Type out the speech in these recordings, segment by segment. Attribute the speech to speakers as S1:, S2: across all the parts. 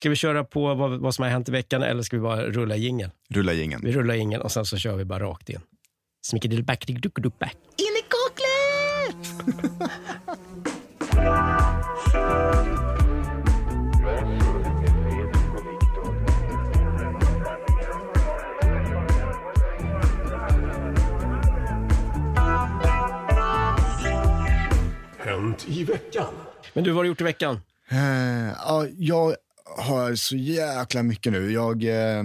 S1: Ska vi köra på vad, vad som har hänt i veckan eller ska vi bara rulla jingeln?
S2: Rulla gängen.
S1: Vi rullar ingen och sen så kör vi bara rakt in. Smickediddleback, dick-duck-duck-back.
S3: In i kaklet!
S4: Hänt i veckan.
S1: Men du, vad har du gjort i veckan?
S2: Eh, ja, jag har så jäkla mycket nu. Jag, eh,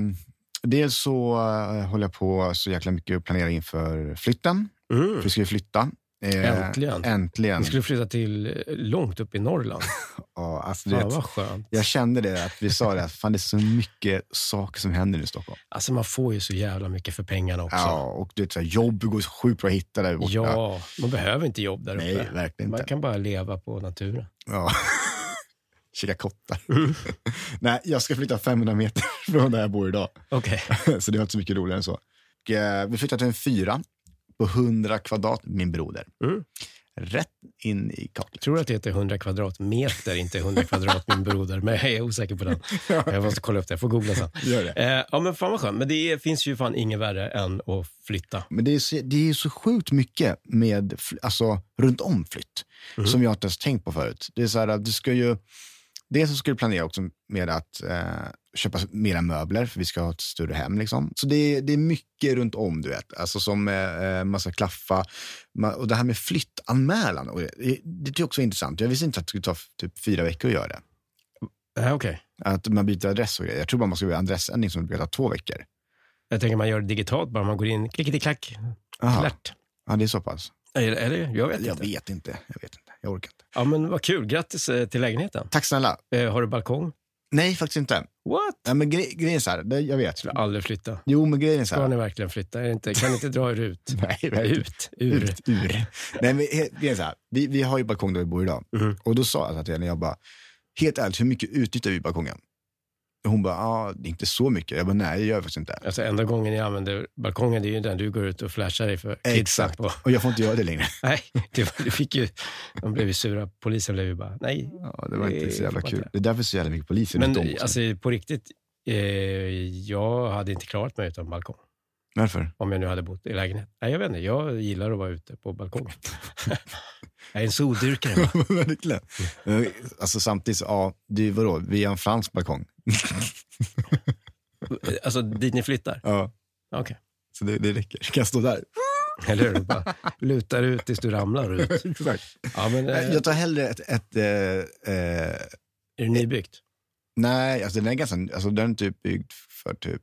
S2: dels så eh, håller jag på så jäkla mycket och planerar inför flytten. För vi ska ju flytta. Eh,
S1: Äntligen.
S2: Äntligen.
S1: Vi skulle flytta till eh, långt upp i Norrland.
S2: Ja, alltså, du
S1: Fan,
S2: vet,
S1: vad skönt.
S2: jag kände det, att vi sa det, att fan, det är så mycket saker som händer nu i Stockholm.
S1: Alltså, man får ju så jävla mycket för pengarna också.
S2: Ja, och du vet, så här, jobb går sjukt bra att hitta där borta.
S1: Ja, man behöver inte jobb där uppe.
S2: Nej, verkligen
S1: man
S2: inte.
S1: kan bara leva på naturen.
S2: Ja. Kika kottar.
S1: Mm.
S2: Nej, jag ska flytta 500 meter från där jag bor idag.
S1: Okej.
S2: Så det var inte så mycket roligare än så. Och, eh, vi flyttade till en fyra på 100 kvadrat, min broder.
S1: Mm.
S2: Rätt in i kaklet.
S1: Tror du att det heter 100 kvadratmeter, inte 100 kvadrat min broder? Men jag är osäker på den. Jag måste kolla upp det. Jag får googla sen.
S2: Gör det.
S1: Eh, ja, men fan vad skönt. Men det är, finns ju fan inget värre än att flytta.
S2: Men det är, så, det är så sjukt mycket med, fl- alltså, runt om flytt som jag inte ens tänkt på förut. Det är så här, att du ska ju, dels så ska du planera också med att eh, köpa mera möbler, för vi ska ha ett större hem. Liksom. Så det är, det är mycket runt om, du vet. Alltså som eh, eh, massa klaffa. Ma- Och det här med flyttanmälan, och det, det tycker jag också är intressant. Jag visste inte att det skulle ta f- typ fyra veckor att göra det.
S1: Eh, Okej.
S2: Att man byter adress och grejer. Jag tror bara man ska göra adressändring som brukar ta två veckor.
S1: Jag tänker man gör det digitalt bara. Man går in, klickety-klack,
S2: Aha.
S1: klart.
S2: Ja, det är så pass.
S1: Eller, eller jag vet
S2: Jag
S1: inte.
S2: vet inte. Jag vet inte. Jag orkar inte.
S1: Ja, men vad kul. Grattis eh, till lägenheten.
S2: Tack snälla.
S1: Eh, har du balkong?
S2: Nej, faktiskt inte.
S1: What?
S2: Ja, men gre- grejen är så här, det, jag vet.
S1: Skulle aldrig flytta.
S2: Jo, men grejen är så
S1: Ska
S2: här.
S1: ni verkligen flytta? Är det inte, kan ni inte dra er ut?
S2: Nej, verkligen.
S1: Ut, ur.
S2: Ut, ur. Nej, men he- grejen är så här. Vi, vi har ju balkong där vi bor idag.
S1: Mhm.
S2: Och då sa jag till henne, jag bara, helt ärligt, hur mycket utnyttjar vi balkongen? Och Hon bara, ah, det är inte så mycket. Jag bara, nej, det gör jag faktiskt inte.
S1: Alltså enda gången jag använder balkongen, det är ju den du går ut och flashar dig för kidsen
S2: Exakt.
S1: på.
S2: Och jag får inte göra det längre.
S1: Nej, det var, du fick ju, de blev ju sura. Polisen blev ju bara, nej.
S2: Ja, det var
S1: Det
S2: inte så jävla
S1: får man
S2: kul.
S1: inte.
S2: Det är därför så jävla mycket poliser runt om
S1: Men
S2: också.
S1: alltså på riktigt, eh, jag hade inte klarat mig utan balkong.
S2: Varför?
S1: Om jag nu hade bott i lägenhet. Nej, jag vet inte. Jag gillar att vara ute på balkongen. jag är en soldyrkare. va?
S2: Verkligen. Men, Alltså samtidigt, så, ja, det är vadå? Vi har en fransk balkong.
S1: Alltså dit ni flyttar?
S2: Ja,
S1: Okej.
S2: så det, det räcker. Jag kan stå där.
S1: Eller hur? Du bara lutar ut tills du ramlar ut.
S2: Exakt.
S1: Ja, men, eh,
S2: Jag tar hellre ett... ett eh, eh,
S1: är det nybyggt?
S2: nej, alltså den är ganska... Alltså den är typ byggd för typ...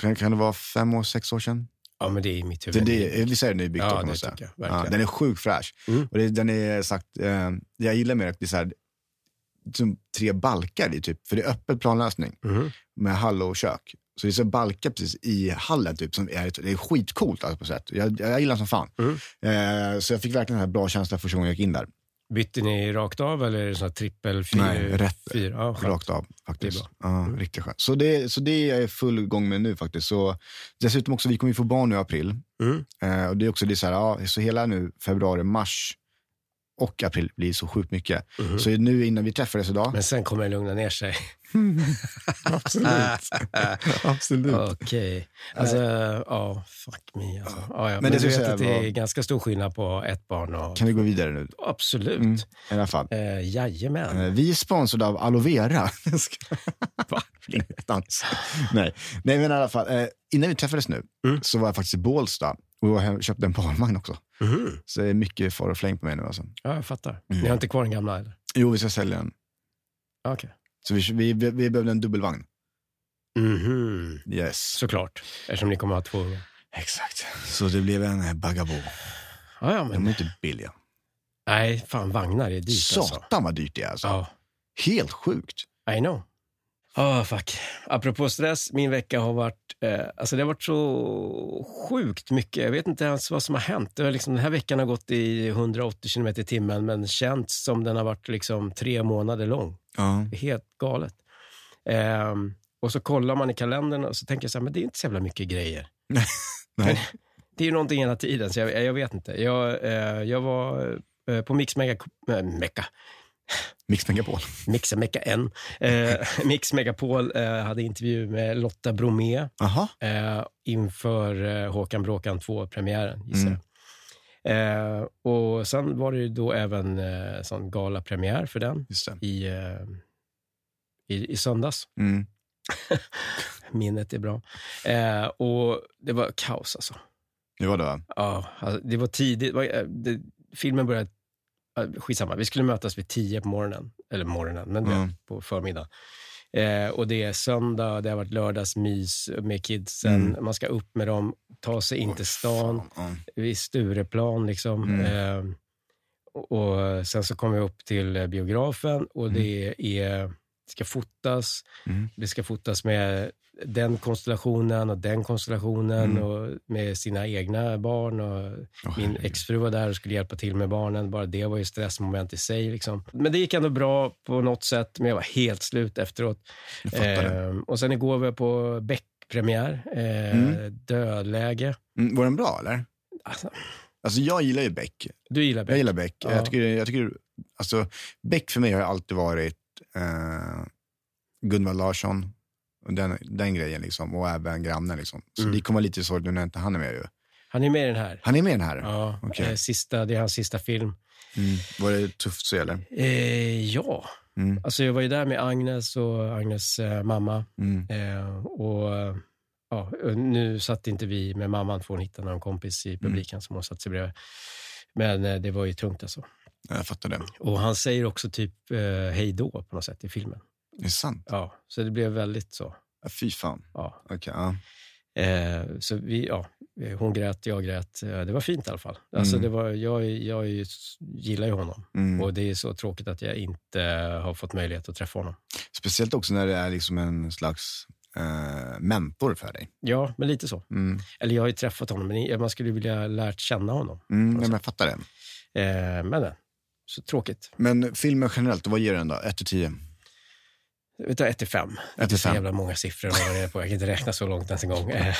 S2: Kan, kan det vara fem år, sex år sedan?
S1: Ja, men det är i mitt
S2: Det,
S1: huvud.
S2: det, vi säger nybyggd
S1: Ja,
S2: då, kan man
S1: det
S2: säga.
S1: tycker jag,
S2: Ja,
S1: verkligen.
S2: den är sjukt fräsch.
S1: Mm.
S2: Och det, den är sagt, eh, jag gillar mer att det är så här, som tre balkar i typ, för det är öppen planlösning
S1: Mhm.
S2: med hall och kök. Så det är så balkar precis i hallen typ, som är, det är skitcoolt alltså, på sätt. Jag, jag gillar den som fan. Eh, så jag fick verkligen den här bra känslan första gången jag gick in där.
S1: Bytte ni rakt av eller är det sån här trippel? Fyr,
S2: Nej, rätt.
S1: Fyra? Ja, skönt.
S2: Rakt av faktiskt.
S1: Det är
S2: Ja, Riktigt skönt. Så det, så det är jag i full gång med nu faktiskt. Så, dessutom också, vi kommer ju få barn nu i april.
S1: Mm.
S2: Eh, och det är också det är så här, ja, så hela nu februari, mars och april blir så sjukt mycket.
S1: Mm.
S2: Så nu innan vi träffades idag.
S1: Men sen kommer det lugna ner sig.
S2: Absolut. Absolut.
S1: Okej. Alltså, ja, fuck me. Alltså. Ja, ja. Men, du
S2: det ska
S1: vet
S2: jag säga
S1: att det är
S2: var-
S1: ganska stor skillnad på att ha ett barn och...
S2: Kan vi gå vidare nu?
S1: Absolut.
S2: Mm, I alla fall.
S1: Eh, jajamän.
S2: Eh, Vi är sponsrade av Aloe Vera. Jag ska- Va? Ingenstans. Nej. Nej, men i alla fall. Eh, innan vi träffades nu
S1: Mm.
S2: så var jag faktiskt i Bålsta och jag hem- köpte en barnvagn också.
S1: Mhm.
S2: Så det är mycket far och fläng på mig nu. Alltså.
S1: Ja, jag fattar. Ni har inte kvar den gamla eller?
S2: Jo, vi ska sälja den.
S1: Okej.
S2: Så vi, vi, vi, vi behövde en dubbelvagn.
S1: Mhm.
S2: Yes.
S1: Såklart. Eftersom ni kommer att ha två ungar.
S2: Exakt. Så det blev en eh, Bagabo.
S1: Ja, ja,
S2: De
S1: men...
S2: är inte billiga.
S1: Nej, fan vagnar är dyrt alltså.
S2: Satan vad dyrt det är alltså.
S1: Ja.
S2: Helt sjukt.
S1: I know. Ah, fuck. Apropå stress, min vecka har varit... Eh, alltså det har varit så sjukt mycket. Jag vet inte ens vad som har hänt. Det har liksom, den här veckan har gått i 180 km i timmen, men känts som den har varit liksom tre månader lång.
S2: Ja.
S1: Helt galet. Ehm, och så kollar man i kalendern och så tänker jag så här, men det är inte så jävla mycket grejer.
S2: Nej.
S1: Det är ju någonting hela tiden, så jag, jag vet inte. Jag, eh, jag var eh, på Mix Mega, eh, Mecca,
S2: Mix Megapol.
S1: Mix Mecka N. Eh, Mix Megapol eh, hade intervju med Lotta Bromé
S2: Jaha,
S1: eh, inför eh, Håkan Bråkan 2-premiären, gissar jag.
S2: Mm.
S1: Eh, och sen var det ju då även eh, sån galapremiär för den
S2: just det.
S1: i, eh, i, i söndags.
S2: Mm.
S1: Minnet är bra. Eh, och det var kaos alltså.
S2: Det var det va?
S1: Ja, alltså, det var tidigt. Det var, eh, det, filmen började... eh, Skitsamma, vi skulle mötas vid tio på morgonen. Eller morgonen, men
S2: Mm.
S1: på förmiddagen. Eh, och det är söndag, det har varit lördagsmys med kidsen. Man ska upp med dem, ta sig in
S2: Oj,
S1: till stan,
S2: Mm. fan, Mm. ja.
S1: vid Stureplan liksom. Eh, och, och sen så kommer vi upp till eh, biografen och det är, ska fotas.
S2: Mm.
S1: Det ska fotas med den konstellationen och den konstellationen
S2: Mm.
S1: och med sina egna barn. Och
S2: Åh,
S1: min
S2: herregud.
S1: exfru var där och skulle hjälpa till med barnen. Bara det var ju stressmoment i sig. Liksom. Men det gick ändå bra på något sätt, men jag var helt slut efteråt.
S2: Jag fattar det.
S1: Ehm, och sen igår var jag på Beck-premiär, eh, Dödläge.
S2: Mm, var den bra eller?
S1: Alltså,
S2: Alltså jag gillar ju Beck.
S1: du gillar
S2: Jag
S1: Beck?
S2: gillar Beck.
S1: Ja.
S2: Jag tycker, jag tycker, alltså, Beck för mig har ju alltid varit eh, Gunvald Larsson, och den, den grejen liksom, och även grannen. Liksom. Så
S1: Mm.
S2: det kommer lite sorgligt nu när inte han är med. Ju.
S1: Han är med i den här.
S2: Han är med i den här.
S1: Ja,
S2: Okej.
S1: eh, sista, det är hans sista film.
S2: Mm. Var det tufft så eller?
S1: Eh, ja,
S2: Mm.
S1: alltså jag var ju där med Agnes och Agnes eh, mamma.
S2: Mm.
S1: Eh, och, eh, ja, nu satt inte vi med mamman, för hon hittade någon kompis
S2: Mm.
S1: i publiken som hon satt sig bredvid. Men eh, det var ju tungt alltså.
S2: Jag fattar det.
S1: Och han säger också typ eh, hej då på något sätt i filmen.
S2: Det är sant.
S1: Ja, så det blev väldigt så.
S2: Ja, Fy fan.
S1: Ja.
S2: Okej, ja.
S1: Eh, så vi, ja, hon grät, jag grät. Eh, Det var fint i alla fall. Alltså,
S2: Mm.
S1: det var, jag, jag gillar ju honom.
S2: mm.
S1: Och det är så tråkigt att jag inte har fått möjlighet att träffa honom.
S2: Speciellt också när det är liksom en slags eh, mentor för dig.
S1: Ja, men lite så.
S2: Mm.
S1: Eller jag har ju träffat honom, men man skulle vilja lärt känna honom.
S2: Mm, ja, men jag fattar det.
S1: Eh, men eh, så tråkigt.
S2: Men filmen generellt, vad ger den då? 1 till 10?
S1: Vi tar 1 till 5. Det är
S2: Ett till
S1: så
S2: fem.
S1: jävla många siffror att hålla reda på. Jag kan inte räkna så långt ens en gång. Eh,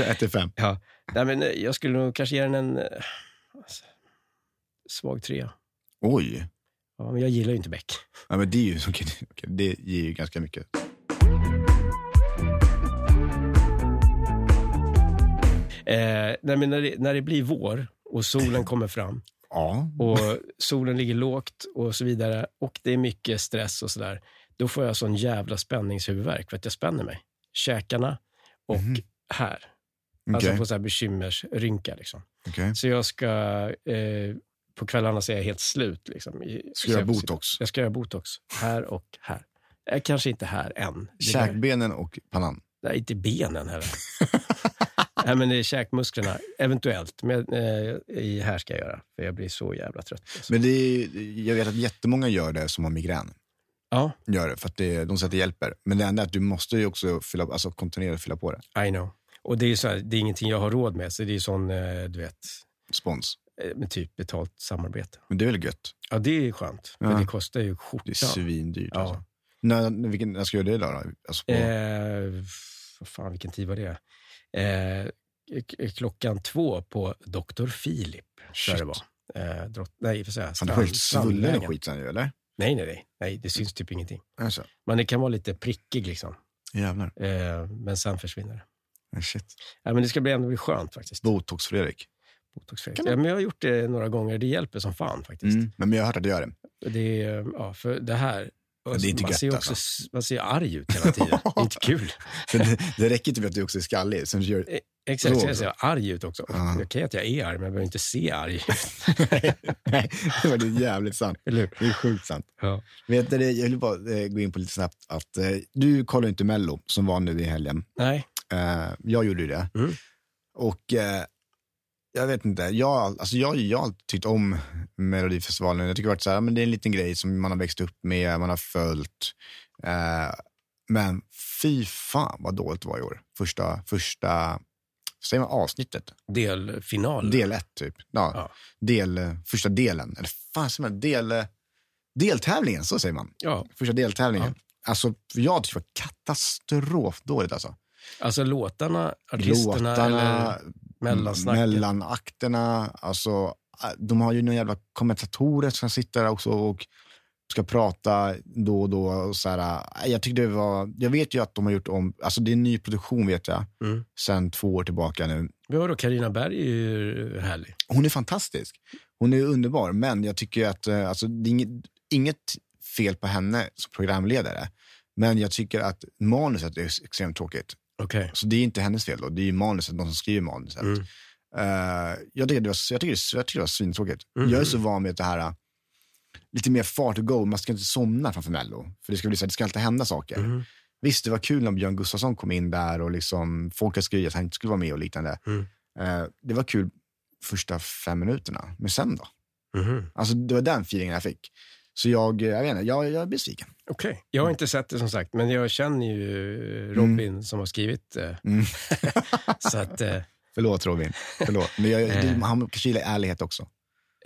S2: 1 till 5.
S1: ja. Nej, men eh, jag skulle nog kanske ge den en eh, alltså, svag trea.
S2: Oj.
S1: Ja, men jag gillar ju inte Beck.
S2: Ja, men det, är ju, okej, det- okej, det ger ju ganska mycket.
S1: Eh, nej, men när, det, när det blir vår och solen kommer fram
S2: Ja.
S1: och solen ligger lågt och så vidare och det är mycket stress och sådär, då får jag sån jävla spänningshuvudvärk för att jag spänner mig. Käkarna och
S2: Mhm.
S1: här. Alltså
S2: Okej.
S1: på så här bekymmersrynka. Liksom.
S2: okej.
S1: Så jag ska... Eh, på kvällarna så är jag helt slut. Liksom. I,
S2: Ska
S1: så
S2: du
S1: jag-
S2: göra botox?
S1: Jag ska göra botox. Här och här. Eh, kanske inte här än. Det där-
S2: Käkbenen och pannan.
S1: Nej, inte benen heller. Nej, men det är käkmusklerna. Eventuellt. Men eh, i här ska jag göra. För jag blir så jävla trött. Alltså.
S2: Men det är, jag vet att jättemånga gör det som har migrän.
S1: Ja,
S2: Gör det, för att det, de säger att det hjälper. Men det enda är att du måste ju också fylla, alltså kontinuerligt fylla på det.
S1: I know. Och det är, ju så här, det är ingenting jag har råd med. Så det är ju sån, eh, du vet,
S2: Spons.
S1: eh, med typ betalt samarbete.
S2: Men det är väl gött?
S1: Ja, det är ju skönt. Men
S2: Ja.
S1: det kostar ju
S2: Det är
S1: skjortan.
S2: svindyrt.
S1: Ja.
S2: Alltså. När, när- vilken, när ska jag göra det då? då? Alltså på,
S1: Eh, vad fan, vilken tid var det? Eh, k- klockan två på Dr. Filip. Där
S2: shit.
S1: det var. Eh, drott, nej, för säga,
S2: Fan, du har helt
S1: strand-
S2: svullen i
S1: strandvägen.
S2: skiten ju, eller?
S1: Nej, nej, nej, nej. Det syns typ ingenting.
S2: Alltså,
S1: Men det kan vara lite prickig liksom.
S2: jävlar.
S1: Eh, men sen försvinner det.
S2: Ah, Shit.
S1: Ja, men det ska bli ändå bli skönt faktiskt.
S2: Botox-Fredrik.
S1: Botoxfritt.
S2: Kan man- Mm.
S1: Ja, men jag har gjort det några gånger. Det hjälper som fan faktiskt.
S2: Men men jag har hört att du gör det.
S1: Det, är, ja, för det här...
S2: Ja, det är inte
S1: man,
S2: gött,
S1: ser
S2: alltså.
S1: ju också, man ser ju arg ut hela tiden. det är inte kul.
S2: För det, det räcker inte med att du också är skallig. Sen gör,
S1: Eh, Exakt,
S2: Så.
S1: jag ser arg ut också.
S2: Ja.
S1: Okej att jag är arg, men jag behöver inte se arg ut.
S2: nej, det var det jävligt sant.
S1: Eller hur?
S2: Det är sjukt sant.
S1: Ja.
S2: Vet du, det, jag vill bara eh, gå in på lite snabbt att eh, du kollar ju inte Mello som var nu i helgen.
S1: Nej.
S2: Eh, jag gjorde ju det.
S1: Mm.
S2: Och eh, jag vet inte, jag, har all- alltså jag, jag har alltid tyckt om Melodifestivalen. Jag tycker det har varit så här, men det är en liten grej som man har växt upp med, man har följt. Eh, men fy fan vad dåligt det var i år. Första, första säger man avsnittet?
S1: Delfinal.
S2: Del ett typ. Ja,
S1: Ja.
S2: Del, eh, första delen. Eller fan säger man? Del, eh, deltävlingen, så säger man.
S1: Ja,
S2: Första deltävlingen. Alltså, jag tycker det var katastrofdåligt alltså.
S1: alltså låtarna, artisterna
S2: mm,
S1: eller mellansnacket.
S2: äh, mellanakterna. Alltså, eh, de har ju några jävla kommentatorer som sitter där också och ska prata då och då. Och så här, äh, jag, tyckte det var, jag vet ju att de har gjort om, alltså det är en ny produktion vet jag,
S1: Mm.
S2: sen två år tillbaka nu.
S1: Vi har då Carina Berg är ju härlig.
S2: Hon är fantastisk. Hon är underbar, men jag tycker ju att eh, alltså, det är inget, inget fel på henne som programledare. Men jag tycker att manuset är extremt tråkigt.
S1: Okej.
S2: Så det är inte hennes fel då, det är ju manuset, de som skriver manuset.
S1: Mm.
S2: Eh, jag, tycker det var, jag, tycker det, jag tycker det var svintråkigt.
S1: Mhm.
S2: Jag är så van vid det här, eh, lite mer fart och go. Man ska inte somna framför Mello. För det ska, bli så här, det ska alltid hända saker.
S1: Mhm.
S2: Visst, det var kul när Björn Gustafsson kom in där och liksom, folk hade skrivit att han inte skulle vara med och liknande.
S1: Mm.
S2: Eh, det var kul första fem minuterna, men sen då?
S1: Mhm.
S2: Alltså, det var den feelingen jag fick. Så jag, eh, jag vet inte, jag, jag är besviken.
S1: Okej. Jag
S2: Mm.
S1: har inte sett det som sagt, men jag känner ju Robin som har skrivit. eh,
S2: Mm.
S1: så att, eh,
S2: Förlåt Robin, förlåt. Men jag,
S1: Eh.
S2: det, han kanske gillar ärlighet också.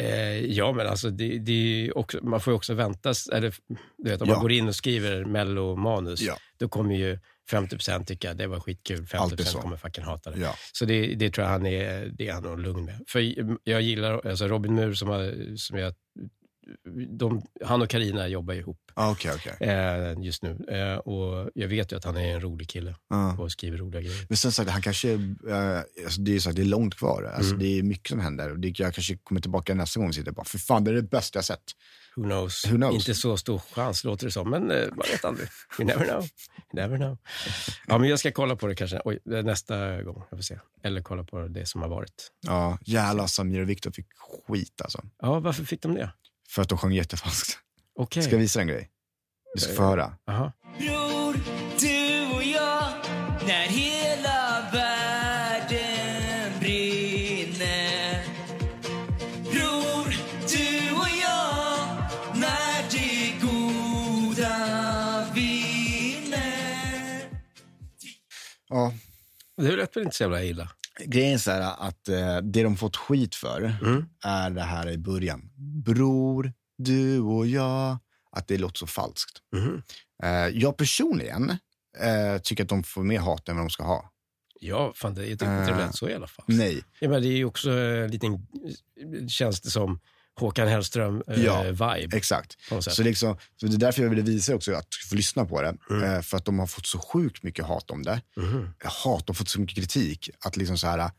S1: eh, ja, men alltså, det, det är ju också, man får ju också vänta. s- Eller, du vet, om
S2: Ja.
S1: man går in och skriver Mello-manus,
S2: Ja.
S1: då kommer ju 50 tycka det var skitkul, 50
S2: Alltid så.
S1: kommer fucking hata det.
S2: Ja.
S1: Så det, det tror jag han är, det är han nog lugn med. För jag gillar alltså Robin Mur som, har, som jag, de, han och Karina jobbar ihop
S2: Ah, Okej, okej.
S1: eh, just nu. Eh, och jag vet ju att han är en rolig kille
S2: Ja.
S1: och skriver roliga grejer.
S2: Men sen sagt, han kanske, eh, alltså det, är så att det är långt kvar. Alltså
S1: Mm.
S2: Det är mycket som händer. Och det, jag kanske kommer tillbaka nästa gång och sitter och bara, för fan, det är det bästa jag sett.
S1: Who knows?
S2: Who knows?
S1: Inte så stor chans låter det som, men eh, man vet aldrig. You never know. You never know. Ja, men jag ska kolla på det kanske Oj, det är nästa gång. Jag får se. Eller kolla på det som har varit.
S2: Ja, jävlar, Samir och Viktor fick skit alltså.
S1: Ja, Varför fick de det?
S2: För att de sjöng jättefalskt.
S1: Okej.
S2: Ska jag visa en grej? Du ska få höra.
S1: Aha.
S4: Bror, du och jag när hela världen brinner Bror, du och jag när det goda vinner
S2: Ja,
S1: Det lät väl inte så jävla illa?
S2: grejen är så här att eh, det de fått skit för
S1: Mm.
S2: är det här i början. Bror, du och jag. Att det låter så falskt.
S1: Mhm.
S2: Eh, jag personligen eh, tycker att de får mer hat än vad de ska ha.
S1: Ja, fan, det, jag tyckte inte det
S2: Eh,
S1: lät så i alla fall.
S2: Nej.
S1: Ja, men det är ju också eh, en liten, känns det som, Håkan Hellström-vibe.
S2: Ja, Exakt.
S1: på något sätt.
S2: Så liksom, så det är därför jag ville visa också att få lyssna på det.
S1: Mm.
S2: Eh, För att de har fått så sjukt mycket hat om det.
S1: Mhm.
S2: Hat, de har fått så mycket kritik. Att liksom så här,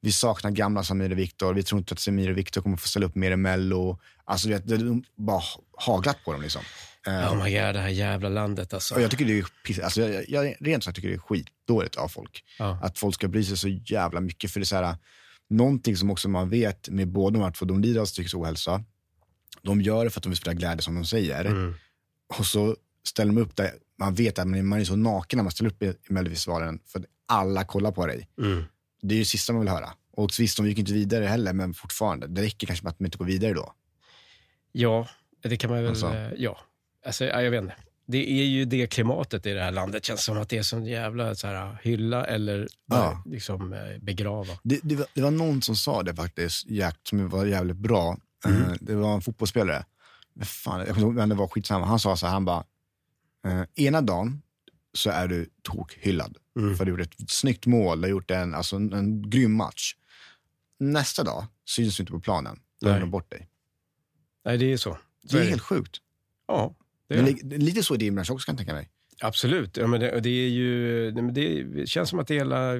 S2: vi saknar gamla Samir och Viktor. Vi tror inte att Samir och Viktor kommer få ställa upp mer i Mello. Alltså, du vet, det- de bara haglat på dem. Liksom. Eh,
S1: Oh my god, det här jävla landet alltså.
S2: och jag tycker det är piss, alltså, jag, jag, rent sagt tycker det är skitdåligt av folk.
S1: Ja.
S2: Att folk ska bry sig så jävla mycket. För det är så här, någonting som också man vet med båda de här två, de lider av psykisk ohälsa. De gör det för att de vill sprida glädje som de säger.
S1: Mm.
S2: Och så ställer de upp där. Man vet att man man är så naken när man ställer upp i i Melodifestivalen för att alla kollar på dig.
S1: Mm.
S2: Det är ju det sista man vill höra. Och visst, de gick inte vidare heller, men fortfarande. Det räcker kanske med att de inte går vidare då.
S1: Ja, det kan man väl...
S2: Alltså.
S1: eh, Ja. Alltså, ja, jag vet inte. Det är ju det klimatet i det här landet. känns som att det är sån jävla så här, ah, hylla eller
S2: Ja.
S1: eh, liksom, eh, begrava.
S2: Det, det, var, det var någon som sa det faktiskt, Jack, som var jävligt bra.
S1: Mhm.
S2: Eh, det var en fotbollsspelare. Men fan, jag kommer inte ihåg vem det var, skitsamma. Han sa så här, han bara, eh, ena dagen så är du tokhyllad.
S1: Mm.
S2: För du har gjort ett snyggt mål, du har gjort en, alltså en, en grym match. Nästa dag syns du inte på planen. Då har
S1: Nej.
S2: de bort dig.
S1: Nej, det är så. så
S2: Det är
S1: det.
S2: helt sjukt.
S1: Ja, det är
S2: Men
S1: det.
S2: li- lite så är det i Imranch också kan jag tänka mig.
S1: Absolut. Ja, men det, och det är ju... nej, men Det känns som att det hela...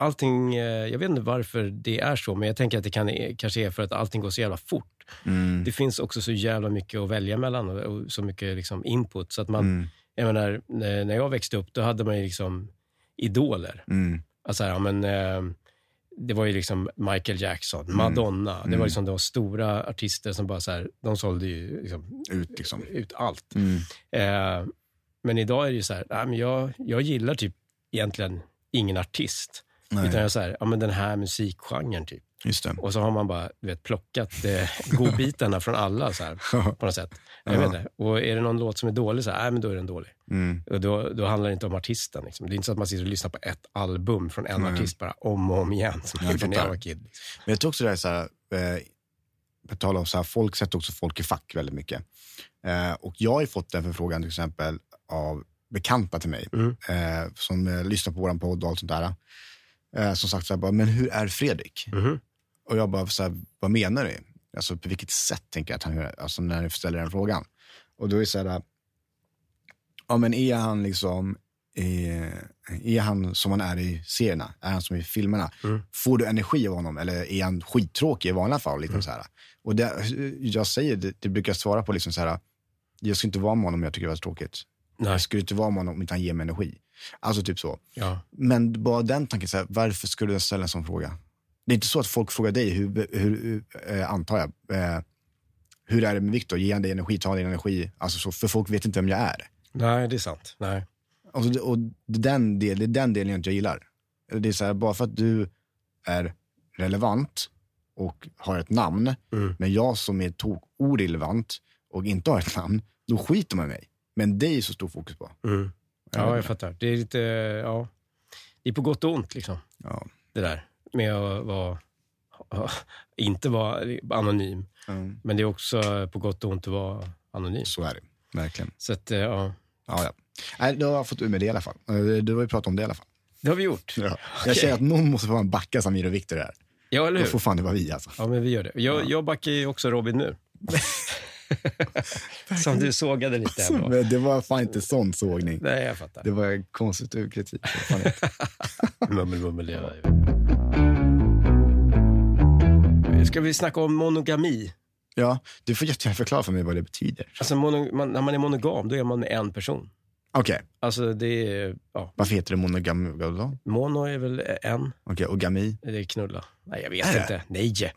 S1: Allting, eh, jag vet inte varför det är så, men jag tänker att det kan, e- kanske är för att allting går så jävla fort.
S2: Mm.
S1: Det finns också så jävla mycket att välja mellan och- och så mycket liksom input. Så att man,
S2: Mm.
S1: jag menar, när när jag växte upp, då hade man ju liksom idoler.
S2: Mm.
S1: Alltså, här, ja, men, eh, det var ju liksom Michael Jackson, Madonna. Det
S2: Mm.
S1: var liksom de stora artister som bara så här, de sålde ju liksom
S2: Ut liksom.
S1: ut allt.
S2: Mm.
S1: Eh, men idag är det ju så här, nej, men jag, jag gillar typ egentligen ingen artist.
S2: Nej,
S1: Utan jag är så här, ja, men den här musikgenren typ.
S2: just det.
S1: Och så har man bara du vet, plockat eh, godbitarna från alla så här, på något sätt. Jag
S2: Ja.
S1: vet inte. Och är det någon låt som är dålig, så här, nej, men då är den dålig.
S2: Mm.
S1: Och då, då handlar det inte om artisten. Liksom. Det är inte så att man sitter och lyssnar på ett album från en
S2: Nej.
S1: artist bara om och om igen. Som
S2: Jag
S1: jag gjorde när jag
S2: fattar.
S1: var kid. Liksom.
S2: Men jag tror också det här, är så här eh, på tal om så här, folk sätter också folk i fack väldigt mycket. Eh, och jag har ju fått den förfrågan till exempel av bekanta till mig
S1: Mm.
S2: eh, som eh, lyssnar på våran podd och allt sånt där. Eh, som sagt så här, bara, men hur är Fredrik?
S1: Mhm.
S2: Och jag bara, så här, vad menar du? Alltså på vilket sätt tänker jag att han gör, alltså när du ställer den frågan? Och då är det så här, ja men är han liksom, är, är han som han är i serierna? Är han som i filmerna? Får du energi av honom eller är han skittråkig i vanliga fall? Liksom så här. Och det, jag säger, det, det brukar jag svara på, liksom så här, jag ska inte vara med honom om jag tycker det var tråkigt.
S1: Nej.
S2: Jag skulle inte vara med honom om inte han ger mig energi. Alltså typ så.
S1: Ja.
S2: Men bara den tanken, så här, varför skulle jag ställa en sån fråga? Det är inte så att folk frågar dig, hur, hur, eh, antar jag, eh, hur är det med Viktor? Ger han dig energi? Tar han din energi? Alltså så, för folk vet inte vem jag är.
S1: Nej, det är sant. Nej.
S2: Alltså, det- och det, är den del, det är den delen jag inte gillar. Det är så här, bara för att du är relevant och har ett namn,
S1: Mm.
S2: men jag som är tok orelevant och inte har ett namn, då skiter man i mig. Men dig är så stor fokus på.
S1: Mm.
S2: Jag
S1: Ja,
S2: vet
S1: jag fattar. Det är lite, ja. Det är på gott och ont liksom,
S2: Ja.
S1: det där med att vara, inte vara anonym.
S2: Mm.
S1: Men det är också på gott och ont att vara anonym.
S2: Så är det. Verkligen.
S1: Så att, eh, ja.
S2: Ja, ja. Nej, då har jag fått ur mig det i alla fall. Eh, Du har ju pratat om det i alla fall.
S1: Det har vi gjort.
S2: Ja.
S1: Okej.
S2: Jag känner att någon måste fan backa Samir och Viktor här.
S1: Ja, eller
S2: Då
S1: hur?
S2: får fan det vara vi alltså.
S1: Ja, men vi gör det. Jag, jag backar ju också Robin nu. Som du sågade lite här på.
S2: Alltså, Men det var fan inte sån sågning.
S1: Nej, jag fattar.
S2: Det var konstigt ur kritik. Det var fan inte.
S1: Mummel, mummel, det gör jag ju. Ska vi snacka om monogami?
S2: Ja, du får jättegärna förklara för mig vad det betyder.
S1: Alltså mono, man, när man är monogam, då är man med en person.
S2: Okej,
S1: Alltså det är, ja,
S2: varför heter det monogami då?
S1: mono är väl en,
S2: Okej, och gami?
S1: det är knulla. Nej, jag vet
S2: Är det?
S1: inte. Nej!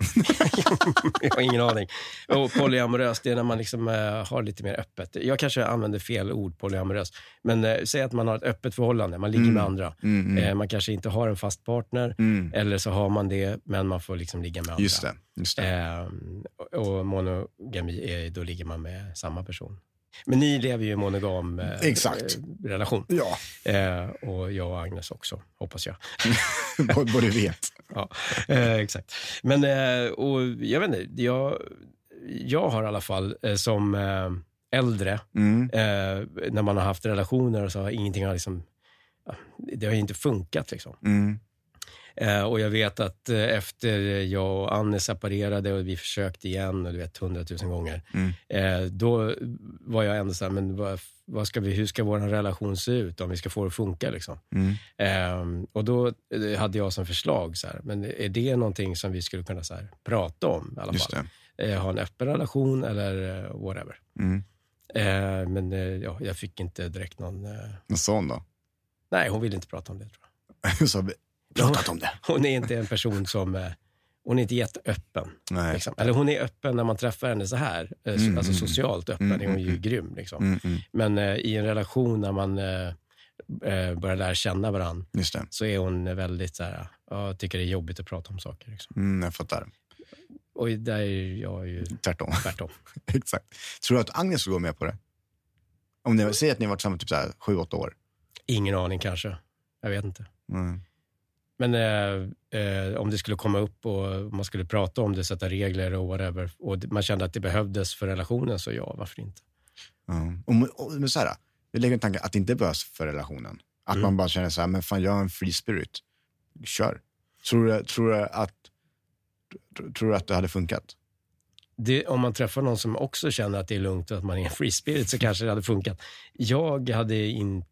S1: jag har ingen aning. Och polyamorös, det är när man liksom eh, har lite mer öppet. Jag kanske använder fel ord, polyamorös. Men eh, säg att man har ett öppet förhållande, man ligger med andra.
S2: Mm, mm,
S1: Eh, man kanske inte har en fast partner,
S2: mm.
S1: eller så har man det, men man får liksom ligga med andra.
S2: Just det. Just det.
S1: Ehm, och- och monogami, är, då ligger man med samma person. Men ni lever ju i monogam eh,
S2: Exakt.
S1: eh, relation.
S2: Ja,
S1: Eh, och jag och Agnes också, hoppas jag.
S2: vad vad du vet.
S1: Ja, eh, exakt. Men eh, och jag vet inte, jag, jag har i alla fall eh, som eh, äldre,
S2: Mm.
S1: eh, när man har haft relationer och så har ingenting har liksom, ja, det har ju inte funkat liksom.
S2: Mm.
S1: Eh, och jag vet att eh, efter jag och Anne separerade och vi försökte igen, och du vet hundratusen gånger,
S2: Mm.
S1: eh, då var jag ändå så här, men vad, vad ska vi, hur ska vår relation se ut om vi ska få det att funka liksom?
S2: Mm.
S1: Ehm, och då eh, hade jag som förslag, så här, men är det någonting som vi skulle kunna så här, prata om i alla
S2: Just
S1: fall?
S2: det.
S1: Eh, ha en öppen relation eller eh, whatever.
S2: Mm.
S1: Eh, men eh, ja, jag fick inte direkt någon... Eh,
S2: En sån då?
S1: nej, hon ville inte prata om det. Tror jag.
S2: Så har vi pratat om det.
S1: Hon är inte en person som... Eh, hon är inte jätteöppen.
S2: Nej.
S1: Liksom. Eller hon är öppen när man träffar henne så här. Eh, så-
S2: Mm,
S1: alltså
S2: mm,
S1: socialt öppen
S2: mm,
S1: är hon ju
S2: mm,
S1: grym. Liksom.
S2: Mm, mm.
S1: Men eh, i en relation när man eh, eh, börjar lära känna varandra
S2: Just det.
S1: så är hon väldigt så här, jag tycker det är jobbigt att prata om saker. Liksom.
S2: Mm, jag fattar.
S1: Och där är ju jag ju
S2: Tvärtom.
S1: tvärtom.
S2: Exakt. Tror du att Agnes skulle gå med på det? Om ni säger att ni har varit tillsammans typ så här, sju, åtta år.
S1: Ingen aning kanske. Jag vet inte.
S2: Mm.
S1: Men eh, eh, om det skulle komma upp och man skulle prata om det, sätta regler och whatever och d- man kände att det behövdes för relationen, så ja, varför inte?
S2: Mm. Och, och, men så här, jag lägger en tanke att det inte behövs för relationen. Att
S1: Mm.
S2: man bara känner så här, men fan jag är en free spirit. Kör. Tror du, tror du, att, tr- tror du att det hade funkat?
S1: Det, om man träffar någon som också känner att det är lugnt och att man är en free spirit så kanske det hade funkat. Jag hade inte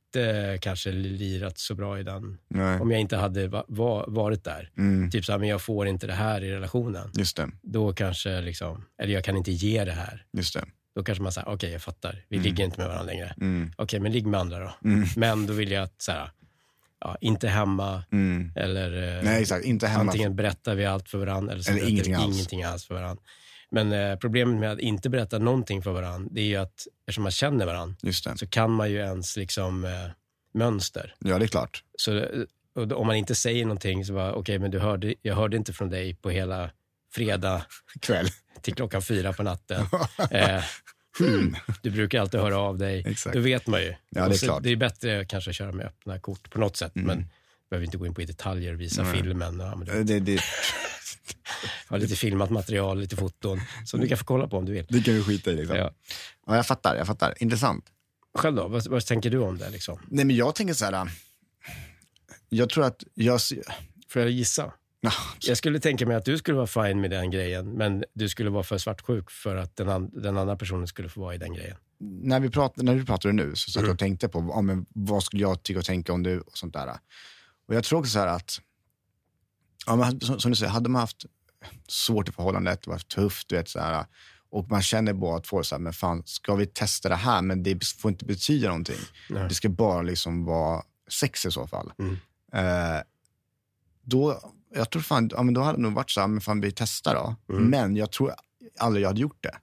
S1: kanske lirat så bra i den,
S2: Nej.
S1: om jag inte hade va, va, varit där.
S2: Mm.
S1: Typ så här, men jag får inte det här i relationen.
S2: Just det,
S1: Då kanske liksom, eller jag kan inte ge det här.
S2: just det.
S1: Då kanske man säger, okej jag fattar, vi ligger inte med varandra längre.
S2: Mm.
S1: Okej, men ligg med andra då.
S2: Mm.
S1: Men då vill jag att, så här, ja, inte hemma
S2: Mm.
S1: eller eh,
S2: Nej, exakt. Inte hemma.
S1: antingen berättar vi allt för varandra eller, så
S2: Eller
S1: berättar vi
S2: ingenting alls.
S1: ingenting alls för varandra. Men eh, problemet med att inte berätta någonting för varandra, det är ju att eftersom man känner varandra
S2: Just det.
S1: så kan man ju ens liksom eh, mönster.
S2: Ja, det är klart.
S1: Så eh, och då- om man inte säger någonting så bara, okej, men du hörde, jag hörde inte från dig på hela fredag
S2: Kväll.
S1: till klockan fyra på natten. Eh, hmm, du brukar alltid höra av dig.
S2: Exakt.
S1: Då vet man ju.
S2: det är
S1: Och så-
S2: klart.
S1: det är bättre kanske att köra med öppna kort på något sätt,
S2: Mm.
S1: men behöver inte gå in på i detaljer och visa
S2: Nej. Eh,
S1: filmen. Ja, men du
S2: Det, det,
S1: har lite filmat material, lite foton som du kan få kolla på om du vill.
S2: det kan du skita i. Liksom. Ja.
S1: Ja.
S2: jag fattar. Jag fattar. Intressant.
S1: Själv då, vad, vad tänker du om det? Liksom?
S2: Nej, men jag tänker så här. äh, Jag tror att jag...
S1: Får jag gissa?
S2: Nah,
S1: Jag skulle tänka mig att du skulle vara fine med den grejen, men du skulle vara för svartsjuk för att den, an- den andra personen skulle få vara i den grejen.
S2: när, vi prat, när du pratade nu så
S1: Mm.
S2: satt jag och tänkte på ja, men vad skulle jag tycka och tänka om du och sånt där. Och jag tror också så här att, ja, men, som, som du säger, hade man haft svårt i förhållandet, det var tufft, du vet, så här, och man känner bara att få så här, men fan, ska vi testa det här? Men det får inte betyda någonting.
S1: Nej.
S2: Det ska bara liksom vara sex i så fall.
S1: Mm.
S2: Eh, då, jag tror fan, ja, men då hade det nog varit så här, men fan vi testar då.
S1: Mm.
S2: Men jag tror aldrig jag hade gjort det.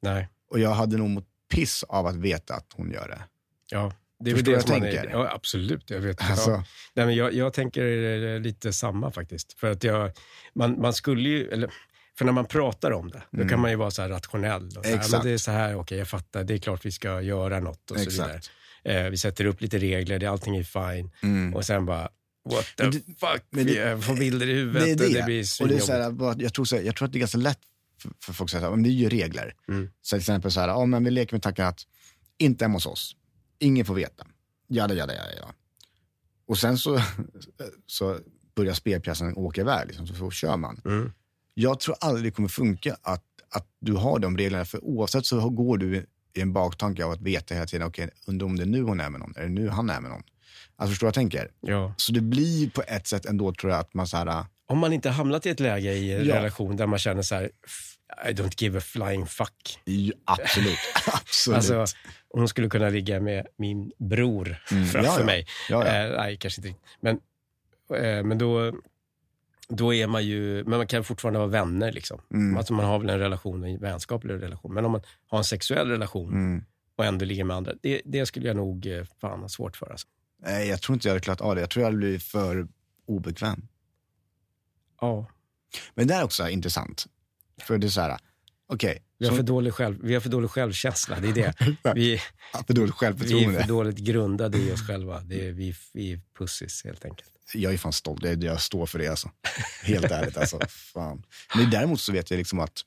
S1: Nej.
S2: Och jag hade nog mått piss av att veta att hon gör det.
S1: Ja. Det är väl
S2: Förstår
S1: det
S2: jag
S1: som man är,
S2: tänker?
S1: ja, absolut. Jag vet.
S2: Alltså,
S1: Ja. Nej, men jag, jag tänker eh, lite samma faktiskt. För att jag, man, man skulle ju, eller, för när man pratar om det, då kan man ju vara så här rationell. Och så här,
S2: Mm. Exakt.
S1: men det är så här, okej jag fattar, det är klart vi ska göra något och så vidare.
S2: exakt.
S1: Eh, vi sätter upp lite regler, det, allting är fine.
S2: Mm.
S1: Och sen bara, what the
S2: Men det-
S1: fuck,
S2: men det-
S1: vi eh, får bilder i huvudet
S2: Det är
S1: och
S2: det.
S1: det blir
S2: och det är
S1: svinjobbigt.
S2: så här, bara att jag, tror så här, jag tror att det är ganska lätt för, för folk att säga att det är ju regler.
S1: Mm.
S2: Så till exempel så här, ja, men vi leker med tanken att inte hemma hos oss. Ingen får veta. Jada, jada, jada. jada. Och sen så, så börjar spelpjäsen åka iväg, liksom, så, så kör man.
S1: Mm.
S2: Jag tror aldrig det kommer funka att, att du har de reglerna, för oavsett så går du i en baktanke av att veta hela tiden, okej, undrar om det är nu hon är med någon, är det nu han är med någon? Alltså förstår vad jag tänker?
S1: Ja.
S2: Så det blir på ett sätt ändå tror jag att man så här,
S1: Om man inte hamnat i ett läge i en
S2: Ja.
S1: relation där man känner så här, I don't give a flying fuck.
S2: ju, absolut, absolut.
S1: Alltså, hon skulle kunna ligga med min bror
S2: Mm,
S1: framför
S2: ja, ja.
S1: mig.
S2: ja, ja.
S1: Eh, nej, kanske inte riktigt. Men, eh, men då, då är man ju... Men man kan fortfarande vara vänner. Liksom.
S2: Mm,
S1: Alltså man har väl en relation, en vänskaplig relation. Men om man har en sexuell relation
S2: mm.
S1: och ändå ligger med andra, det, det skulle jag nog eh, fan ha svårt för. Alltså.
S2: Nej, jag tror inte jag hade klarat av det. Jag tror jag hade blivit för obekväm.
S1: Ja,
S2: Men det är också intressant. För det är så här, okej.
S1: vi, har
S2: så-
S1: för dålig själv, vi har för dålig självkänsla. Det är det. Vi,
S2: för dåligt
S1: vi är
S2: självförtroende.
S1: för dåligt grundade i oss själva. Det är, vi, vi är pussis helt enkelt.
S2: Jag är fan stolt. Jag, jag står för det alltså. Helt ärligt alltså. Fan. Men däremot så vet jag liksom att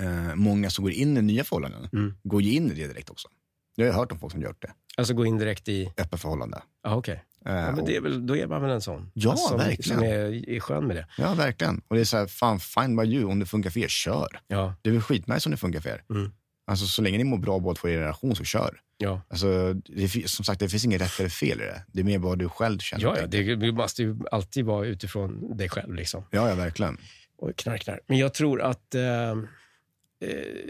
S2: eh, många som går in i nya förhållanden
S1: Mm.
S2: går ju in i det direkt också. Jag har ju hört om folk som gjort det.
S1: Alltså gå in direkt i...
S2: Öppna förhållande.
S1: Ja, okej.
S2: Eh,
S1: Ja, men
S2: och,
S1: det är väl, då är man väl en sån. Alltså,
S2: Ja,
S1: som,
S2: verkligen.
S1: Som är, är skön med det.
S2: ja, verkligen. Och det är så här, fan, fine by you. Om det funkar för er, kör.
S1: Ja,
S2: Det är väl skitnice om det funkar för er.
S1: Mm.
S2: Alltså, så länge ni mår bra båda två i er relation, så kör.
S1: ja.
S2: Alltså, det, fi- som sagt, det finns inget rätt eller fel i det. Det är mer vad du själv känner.
S1: Ja, ja det, det måste ju alltid vara utifrån dig själv. Liksom.
S2: ja, ja, verkligen.
S1: Och knark, knark. Men jag tror att eh, eh,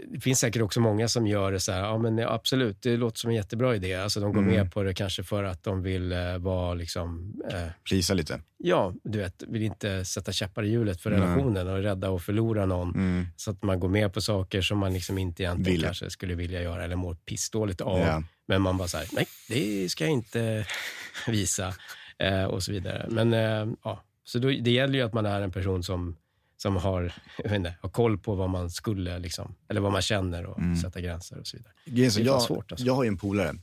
S1: det finns säkert också många som gör det så här. Ja, men absolut, det låter som en jättebra idé. Alltså, de går
S2: Mm.
S1: med på det kanske för att de vill eh, vara liksom... Eh,
S2: Plisa lite.
S1: ja, du vet, vill inte sätta käppar i hjulet för
S2: Nej.
S1: relationen och är rädda att förlora någon.
S2: Mm.
S1: Så att man går med på saker som man liksom inte egentligen
S2: Vill.
S1: kanske skulle vilja göra eller mår pissdåligt av.
S2: Ja.
S1: Men man bara så här, nej, det ska jag inte visa eh, och så vidare. Men eh, ja, så då, det gäller ju att man är en person som, som har, jag vet inte, har koll på vad man skulle, liksom, eller vad man känner och
S2: Mm.
S1: sätta gränser och så vidare.
S2: Grejen är så,
S1: Det är fan
S2: jag,
S1: svårt, alltså.
S2: jag har ju en polare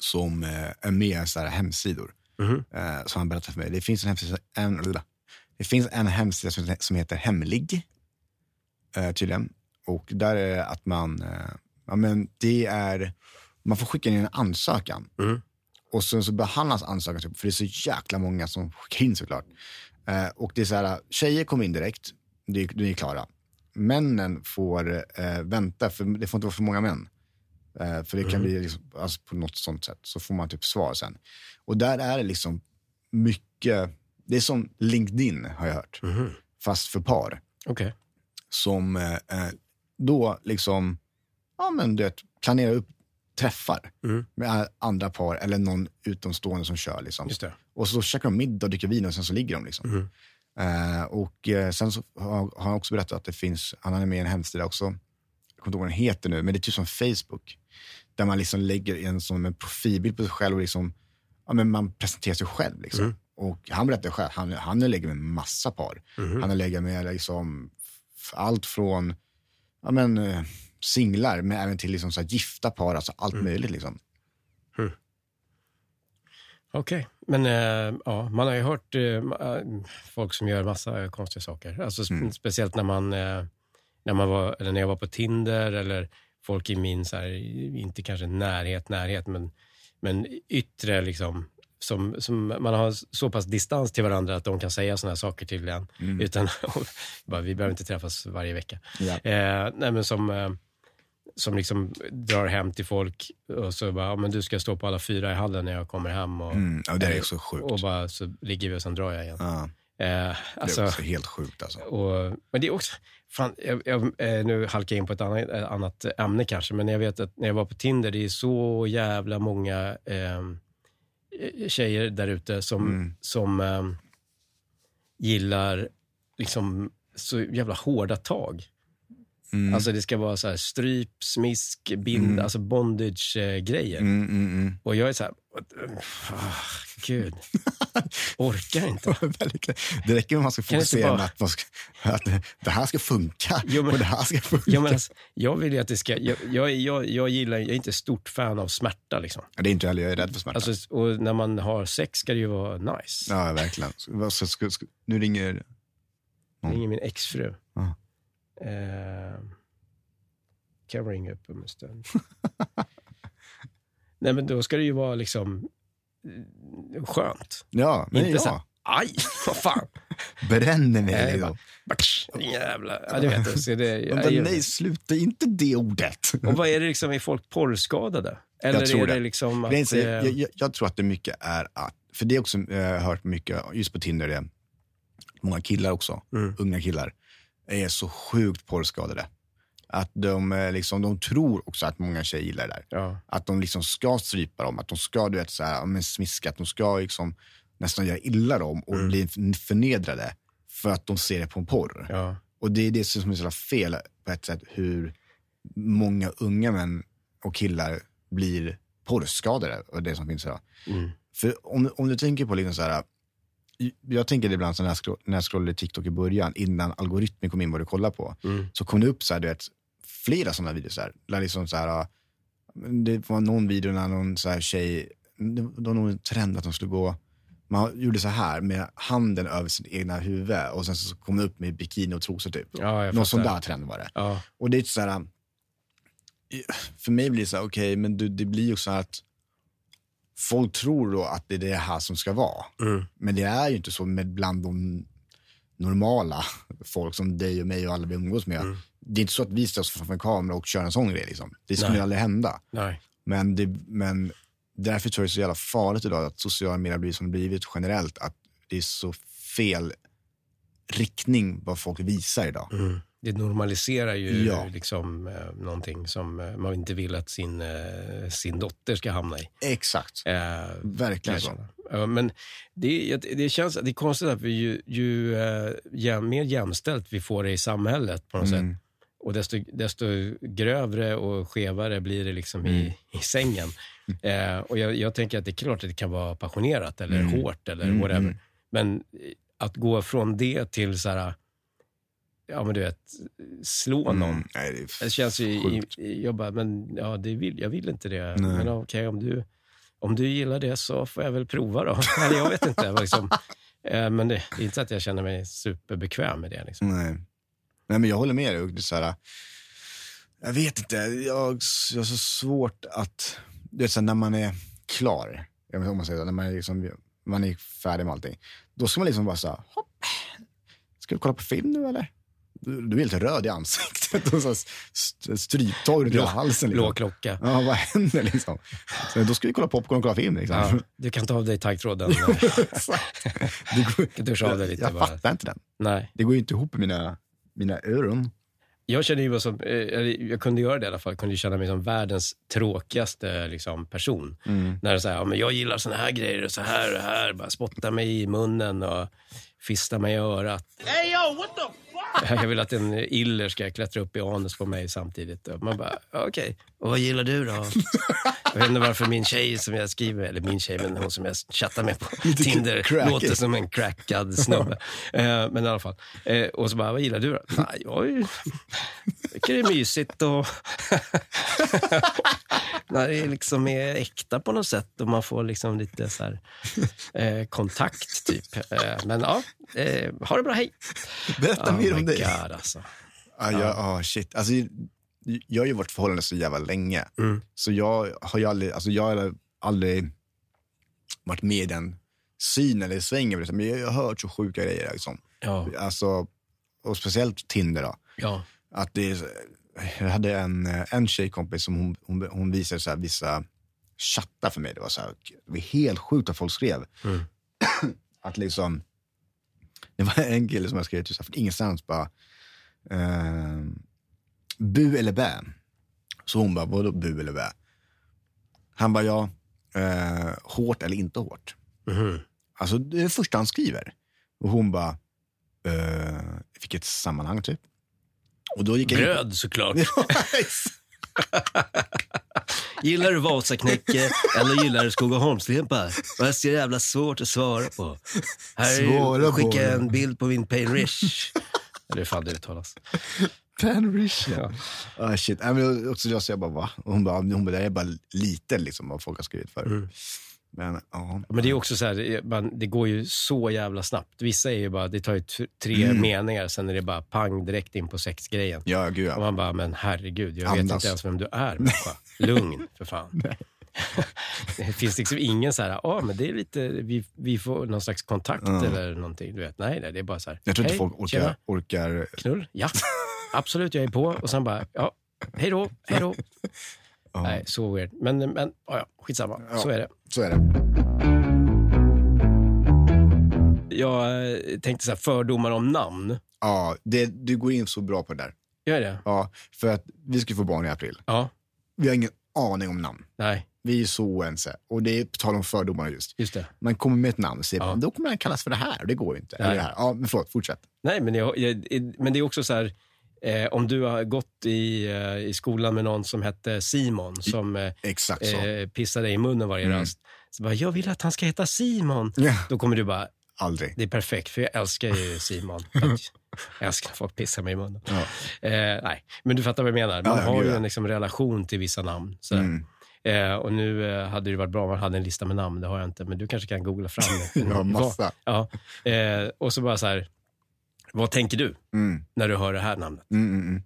S2: som eh, är med i så här hemsidor.
S1: Mhm.
S2: Eh, som han berättade för mig. Det finns en hemsida, en, det finns en hemsida som, som heter Hemlig. Eh, tydligen. Och där är det att man, eh, ja, men det är, man får skicka in en ansökan.
S1: Mm.
S2: Och sen så behandlas ansökan, typ, för det är så jäkla många som skickar in såklart. Eh, och det är så här, tjejer kommer in direkt, de är, de är klara. Männen får eh, vänta, för det får inte vara för många män. Eh, för det kan bli liksom, alltså, på något sånt sätt, så får man typ svar sen. Och där är det liksom mycket, det är som LinkedIn har jag hört,
S1: Mhm.
S2: fast för par
S1: Okej.
S2: som eh, eh, då liksom, ja men du vet, planerar upp träffar
S1: Mm.
S2: med a- andra par eller någon utomstående som kör. Liksom.
S1: Just det.
S2: Och så käkar de middag och dricker vin och sen så ligger de. Liksom.
S1: Mm.
S2: Eh, och eh, sen så har har han också berättat att det finns, han är med i en hemsida också, jag kommer inte ihåg vad den heter nu, men det är typ som Facebook. Där man liksom lägger en som en profilbild på sig själv och liksom, ja, men man presenterar sig själv. Liksom.
S1: Mm.
S2: Och han berättade själv, han, han har legat med massa par.
S1: Mhm.
S2: Han har legat med liksom, f- allt från ja, men, eh, singlar, men även till liksom, så här, gifta par, alltså allt
S1: Mm.
S2: möjligt. Liksom.
S1: Okej, men eh, ja, man har ju hört eh, ma- eh, folk som gör massa konstiga saker. Alltså, sp-
S2: Mm.
S1: Speciellt när man, eh, när, man var, eller när jag var på Tinder eller folk i min, så här, inte kanske närhet, närhet, men, men yttre liksom. Som, som man har så pass distans till varandra att de kan säga såna här saker till en. Utan, bara, vi behöver inte träffas varje vecka.
S2: Mm. Ja.
S1: Eh, nej, men som, eh, som liksom drar hem till folk och så bara, ja, men du ska stå på alla fyra i hallen när jag kommer hem. Och,
S2: Mm, ja, det är så sjukt.
S1: och bara, så ligger vi och sen drar jag igen.
S2: ja,
S1: Eh,
S2: det är
S1: alltså,
S2: också helt sjukt alltså.
S1: och, men det är också... Fan, jag, jag, eh, nu halkar jag in på ett annat, eh, annat ämne kanske, men jag vet att när jag var på Tinder, det är så jävla många eh, tjejer där ute som,
S2: Mm.
S1: som eh, gillar liksom så jävla hårda tag.
S2: Mm,
S1: Alltså det ska vara så här stryp, smisk, bind,
S2: Mm.
S1: alltså bondage-grejer.
S2: mm, mm, mm.
S1: Och jag är så här, ah, gud, orkar inte.
S2: Det räcker med att man ska
S1: Kan det inte
S2: fokusera
S1: bara-
S2: med att, man ska, att det här ska funka
S1: Jo, men-
S2: och det här ska funka.
S1: Jag, menar, jag vill ju att det ska, jag, jag, jag, jag gillar, jag är inte stort fan av smärta liksom.
S2: Ja, det är inte heller, jag är rädd för smärta.
S1: Alltså, och när man har sex ska det ju vara nice.
S2: ja, verkligen. Så, så, så, så, nu ringer...
S1: Det är min exfru.
S2: Ja.
S1: Eh, kan jag ringa upp om en stund? Nej men då ska det ju vara liksom eh, skönt.
S2: Ja, men
S1: Inte så här-
S2: ja.
S1: Aj, vad fan.
S2: Bränner mig.
S1: Nej,
S2: Liksom.
S1: bara, batsch, din jävla... Ja, du vet. Så det,
S2: Men
S1: jag,
S2: bara,
S1: gillar
S2: nej,
S1: det.
S2: sluta inte det ordet.
S1: och vad är det liksom, är folk porrskadade? Eller
S2: Jag tror
S1: är det,
S2: det.
S1: liksom att...
S2: Grejen är,
S1: eh,
S2: jag, jag, jag tror att det mycket är att, för det är också eh, jag har hört mycket, just på Tinder, det, många killar också,
S1: Mm.
S2: unga killar, är så sjukt porrskadade. Att de, eh, liksom, de tror också att många tjejer gillar det där.
S1: ja.
S2: Att de liksom ska strypa dem, att de ska du vet, så här, ja, men smiska, att de ska liksom, nästan göra illa dem och
S1: Mm.
S2: bli förnedrade för att de ser det på en porr.
S1: ja.
S2: Och det är det som är så jävla fel på ett sätt, hur många unga män och killar blir porrskadade och det som finns idag.
S1: Mm.
S2: För om, om du tänker på liksom så här, jag tänker det ibland så när jag, scroll, när jag scrollade TikTok i början, innan algoritmen kom in vad du kollar på,
S1: Mm.
S2: så kom det upp så här, du vet, flera sådana videos. Där, där liksom så här, det var någon video när någon så här tjej, det var någon trend att de skulle gå, man gjorde så här med handen över sitt egna huvud och sen så kom det upp med bikini och trosor typ.
S1: ja, jag
S2: Någon sån
S1: fattar.
S2: där trend var det.
S1: Ja.
S2: Och det är så här, um, för mig blir det så här, okej, men du, det blir ju så här att folk tror då att det är det här som ska vara.
S1: Mm.
S2: Men det är ju inte så med bland de normala folk som dig och mig och alla vi umgås med.
S1: Mm.
S2: Det är inte så att vi ställs framför en kamera och kör en sån grej. Liksom. Det skulle
S1: Nej.
S2: ju aldrig hända.
S1: Nej.
S2: Men, det, men därför tror jag det är så jävla farligt idag att sociala medier blir som det blivit generellt. Att det är så fel riktning vad folk visar idag.
S1: Mm. Det normaliserar ju
S2: Ja.
S1: liksom eh, någonting som eh, man inte vill att sin, eh, sin dotter ska hamna i.
S2: Exakt.
S1: Eh,
S2: Verkligen så.
S1: Kanske. Ja, men det, är- det, känns, det är konstigt att vi ju, ju eh, jäm, mer jämställt vi får det i samhället på något sätt.
S2: Mm.
S1: Och desto, desto grövre och skevare blir det liksom
S2: Mm.
S1: i, i sängen. Eh, och jag, jag tänker att det är klart att det kan vara passionerat eller
S2: Mm.
S1: hårt eller
S2: Mm,
S1: whatever.
S2: mm.
S1: Men eh, att gå från det till så här, ja men du vet, slå någon.
S2: Mm. Nej, det är f-
S1: Det känns ju... I,
S2: sjukt.
S1: i- jag bara, men ja, det vill, jag vill inte det.
S2: Nej.
S1: Men okej, om, du, om du gillar det så får jag väl prova då. Eller jag vet inte. Liksom. Eh, Men det, det är inte att jag känner mig superbekväm med det. Liksom.
S2: Nej. Nej, men jag håller med dig. och Det är så här, jag vet inte. Jag, jag har så svårt att... Du vet, så här, när man är klar, jag vet inte om man säger så, när man är, liksom, man är färdig med allting, då ska man liksom bara så här, hopp. Ska du kolla på film nu eller? Du, du är helt röd i ansiktet och så här st- stryptag runt hela
S1: Blå-
S2: halsen.
S1: Blå
S2: Liksom.
S1: klocka.
S2: Ja, vad händer liksom? Så, då ska vi kolla popcorn och kolla film.
S1: Ja,
S2: Liksom.
S1: du kan ta av dig taggtråden.
S2: Exakt. Det går,
S1: Du duscha av dig
S2: jag,
S1: lite
S2: jag
S1: bara.
S2: fattar inte den.
S1: Nej.
S2: Det går ju inte ihop med mina, mina öron.
S1: Jag kände ju vad som, eh, eller jag kunde göra det i alla fall, jag kunde ju känna mig som världens tråkigaste liksom, person. När det är så här, ja, men jag gillar såna här grejer och så här och här. Bara spotta mig i munnen och fista mig i örat. Jag vill att en iller ska klättra upp i anus på mig samtidigt. Och Man bara, ja, okej. Och vad gillar du då? Jag vet inte varför min tjej som jag skriver, eller min tjej, men hon som jag chattar med på Tinder,
S2: crackig.
S1: låter som en crackad snubbe. Eh, men i alla fall. Eh, och så bara, vad gillar du då? Nej, jag är ju- tycker det är mysigt och... När det liksom är äkta på något sätt och man får liksom lite så här, eh, kontakt, typ. Eh, men ja, eh, ha det bra, hej!
S2: Berätta
S1: oh
S2: mer
S1: my
S2: om dig.
S1: God, alltså.
S2: Ja, Ah, jag, ja, shit. Alltså, jag har ju varit i förhållande så jävla länge.
S1: Mm.
S2: Så jag har ju aldrig, alltså, jag har aldrig varit med i den synen eller svängen. liksom. Men jag har hört så sjuka grejer. Liksom.
S1: Ja,
S2: Alltså, och speciellt Tinder. Då.
S1: ja.
S2: Att det är, så- jag hade en, eh, en tjejkompis som hon, hon, hon visade så här, vissa chattar för mig. Det var, så här, det var helt sjukt att folk skrev.
S1: Mm.
S2: att liksom, det var en kille som jag skrev till så här, från ingenstans bara, eh, bu eller bä? Så hon bara, vadå bu eller bä? Han bara, ja, eh, hårt eller inte hårt?
S1: Mhm.
S2: Alltså det är det första han skriver. Och hon bara, eh, vilket sammanhang typ? Och då gick jag in-
S1: Bröd såklart.
S2: Ja, exakt.
S1: Gillar du Vasaknäcke eller gillar du Skogaholmslimpa? Det är så jävla svårt att svara på. Här är-
S2: Svara på
S1: skicka
S2: det.
S1: en bild på min Pale Rish. Eller hur fan det uttalas. Ja.
S2: Ah, shit. Nej, men också jag, så jag bara, va? Och hon bara, hon bara, det här är bara lite liksom, vad folk har skrivit för.
S1: Mm.
S2: Men, ja.
S1: Men det är också så här, det är- man, det går ju så jävla snabbt. Vissa är ju bara, det tar ju t- tre
S2: Mm.
S1: meningar, sen är det bara pang direkt in på sexgrejen.
S2: Ja, gud
S1: Och
S2: ja.
S1: man bara, men herregud, jag vet
S2: Andas.
S1: inte ens vem du är människa. Lugn, för fan. det finns liksom ingen så här, ah, men det är lite, vi, vi får någon slags kontakt
S2: Ja.
S1: eller någonting. Du vet, nej, nej, det är bara så här.
S2: Jag tror inte
S1: "Hej,
S2: folk orkar,
S1: tjena,
S2: orkar...
S1: Knull? Ja, absolut, jag är på. Och sen bara, ja, hej då, hej då.
S2: Ja,
S1: Nej, så weird. Men, men ah, ja, skitsamma,
S2: Ja.
S1: så är det.
S2: Så är det.
S1: Jag eh, tänkte så här, fördomar om namn.
S2: Ja, det, du går in så bra på det där.
S1: Gör jag det?
S2: Ja, för att vi ska få barn i april.
S1: Ja,
S2: Vi har ingen aning om namn.
S1: nej,
S2: Vi är så oense. Och det är på tal om fördomarna just.
S1: just det.
S2: Man kommer med ett namn och säger,
S1: Ja.
S2: då kommer han kallas för det här. och Det går ju inte.
S1: Nej.
S2: Eller det här. Ja, men förlåt, fortsätt.
S1: Nej, men, jag, jag, men det är också så här, eh, om du har gått i, eh, i skolan med någon som hette Simon, som eh,
S2: Exakt så.
S1: eh, pissade dig i munnen varje
S2: Mm.
S1: rast. Så bara, jag vill att han ska heta Simon.
S2: Ja,
S1: Då kommer du bara,
S2: aldrig.
S1: det är perfekt, för jag älskar ju Simon. För att Jag älskar när folk pissar mig i munnen.
S2: Ja.
S1: Eh, nej, men du fattar vad jag menar. Man
S2: Ja, ja,
S1: har
S2: gud,
S1: ju
S2: ja.
S1: en liksom, relation till vissa namn. Så.
S2: Mm.
S1: Eh, och nu eh, hade det varit bra om man hade en lista med namn, det har jag inte, men du kanske kan googla fram det.
S2: Jag har massa.
S1: Ja. Eh, och så bara så här, vad tänker du
S2: Mm.
S1: när du hör det här namnet?
S2: Mm, mm, mm.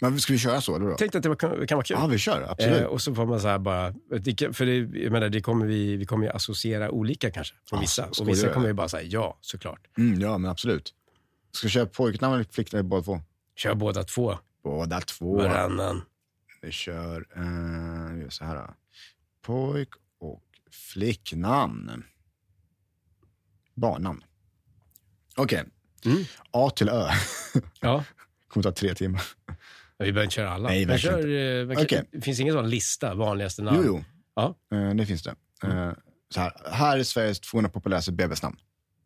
S2: Men ska vi köra så? Eller då?
S1: Jag tänkte att det var- kan kan vara kul.
S2: Ja, vi kör. Absolut.
S1: Eh, och så får man så här bara, det kan- för det, jag menar, det kommer vi, vi kommer ju associera olika kanske, från
S2: Ja,
S1: vissa.
S2: så-
S1: Och vissa
S2: skojar.
S1: kommer ju bara säga ja, såklart.
S2: Mm, ja, men absolut. Ska vi köra pojknamn eller flicknamn? Båda två.
S1: Kör båda två,
S2: Båda två.
S1: varannan.
S2: Vi kör eh, vi gör så här. Då. Pojk och flicknamn. Barnnamn. Okej.
S1: Mm.
S2: A till Ö.
S1: Ja,
S2: kommer ta tre timmar.
S1: vi behöver inte köra alla.
S2: Nej,
S1: Men
S2: verkligen
S1: kör, eh, verkligen-
S2: Okej.
S1: Det finns ingen sån lista, vanligaste namn.
S2: Jo, jo.
S1: Ja.
S2: Eh, det finns det.
S1: Mm.
S2: Eh, så här. här är Sveriges 200 populäraste bebisnamn.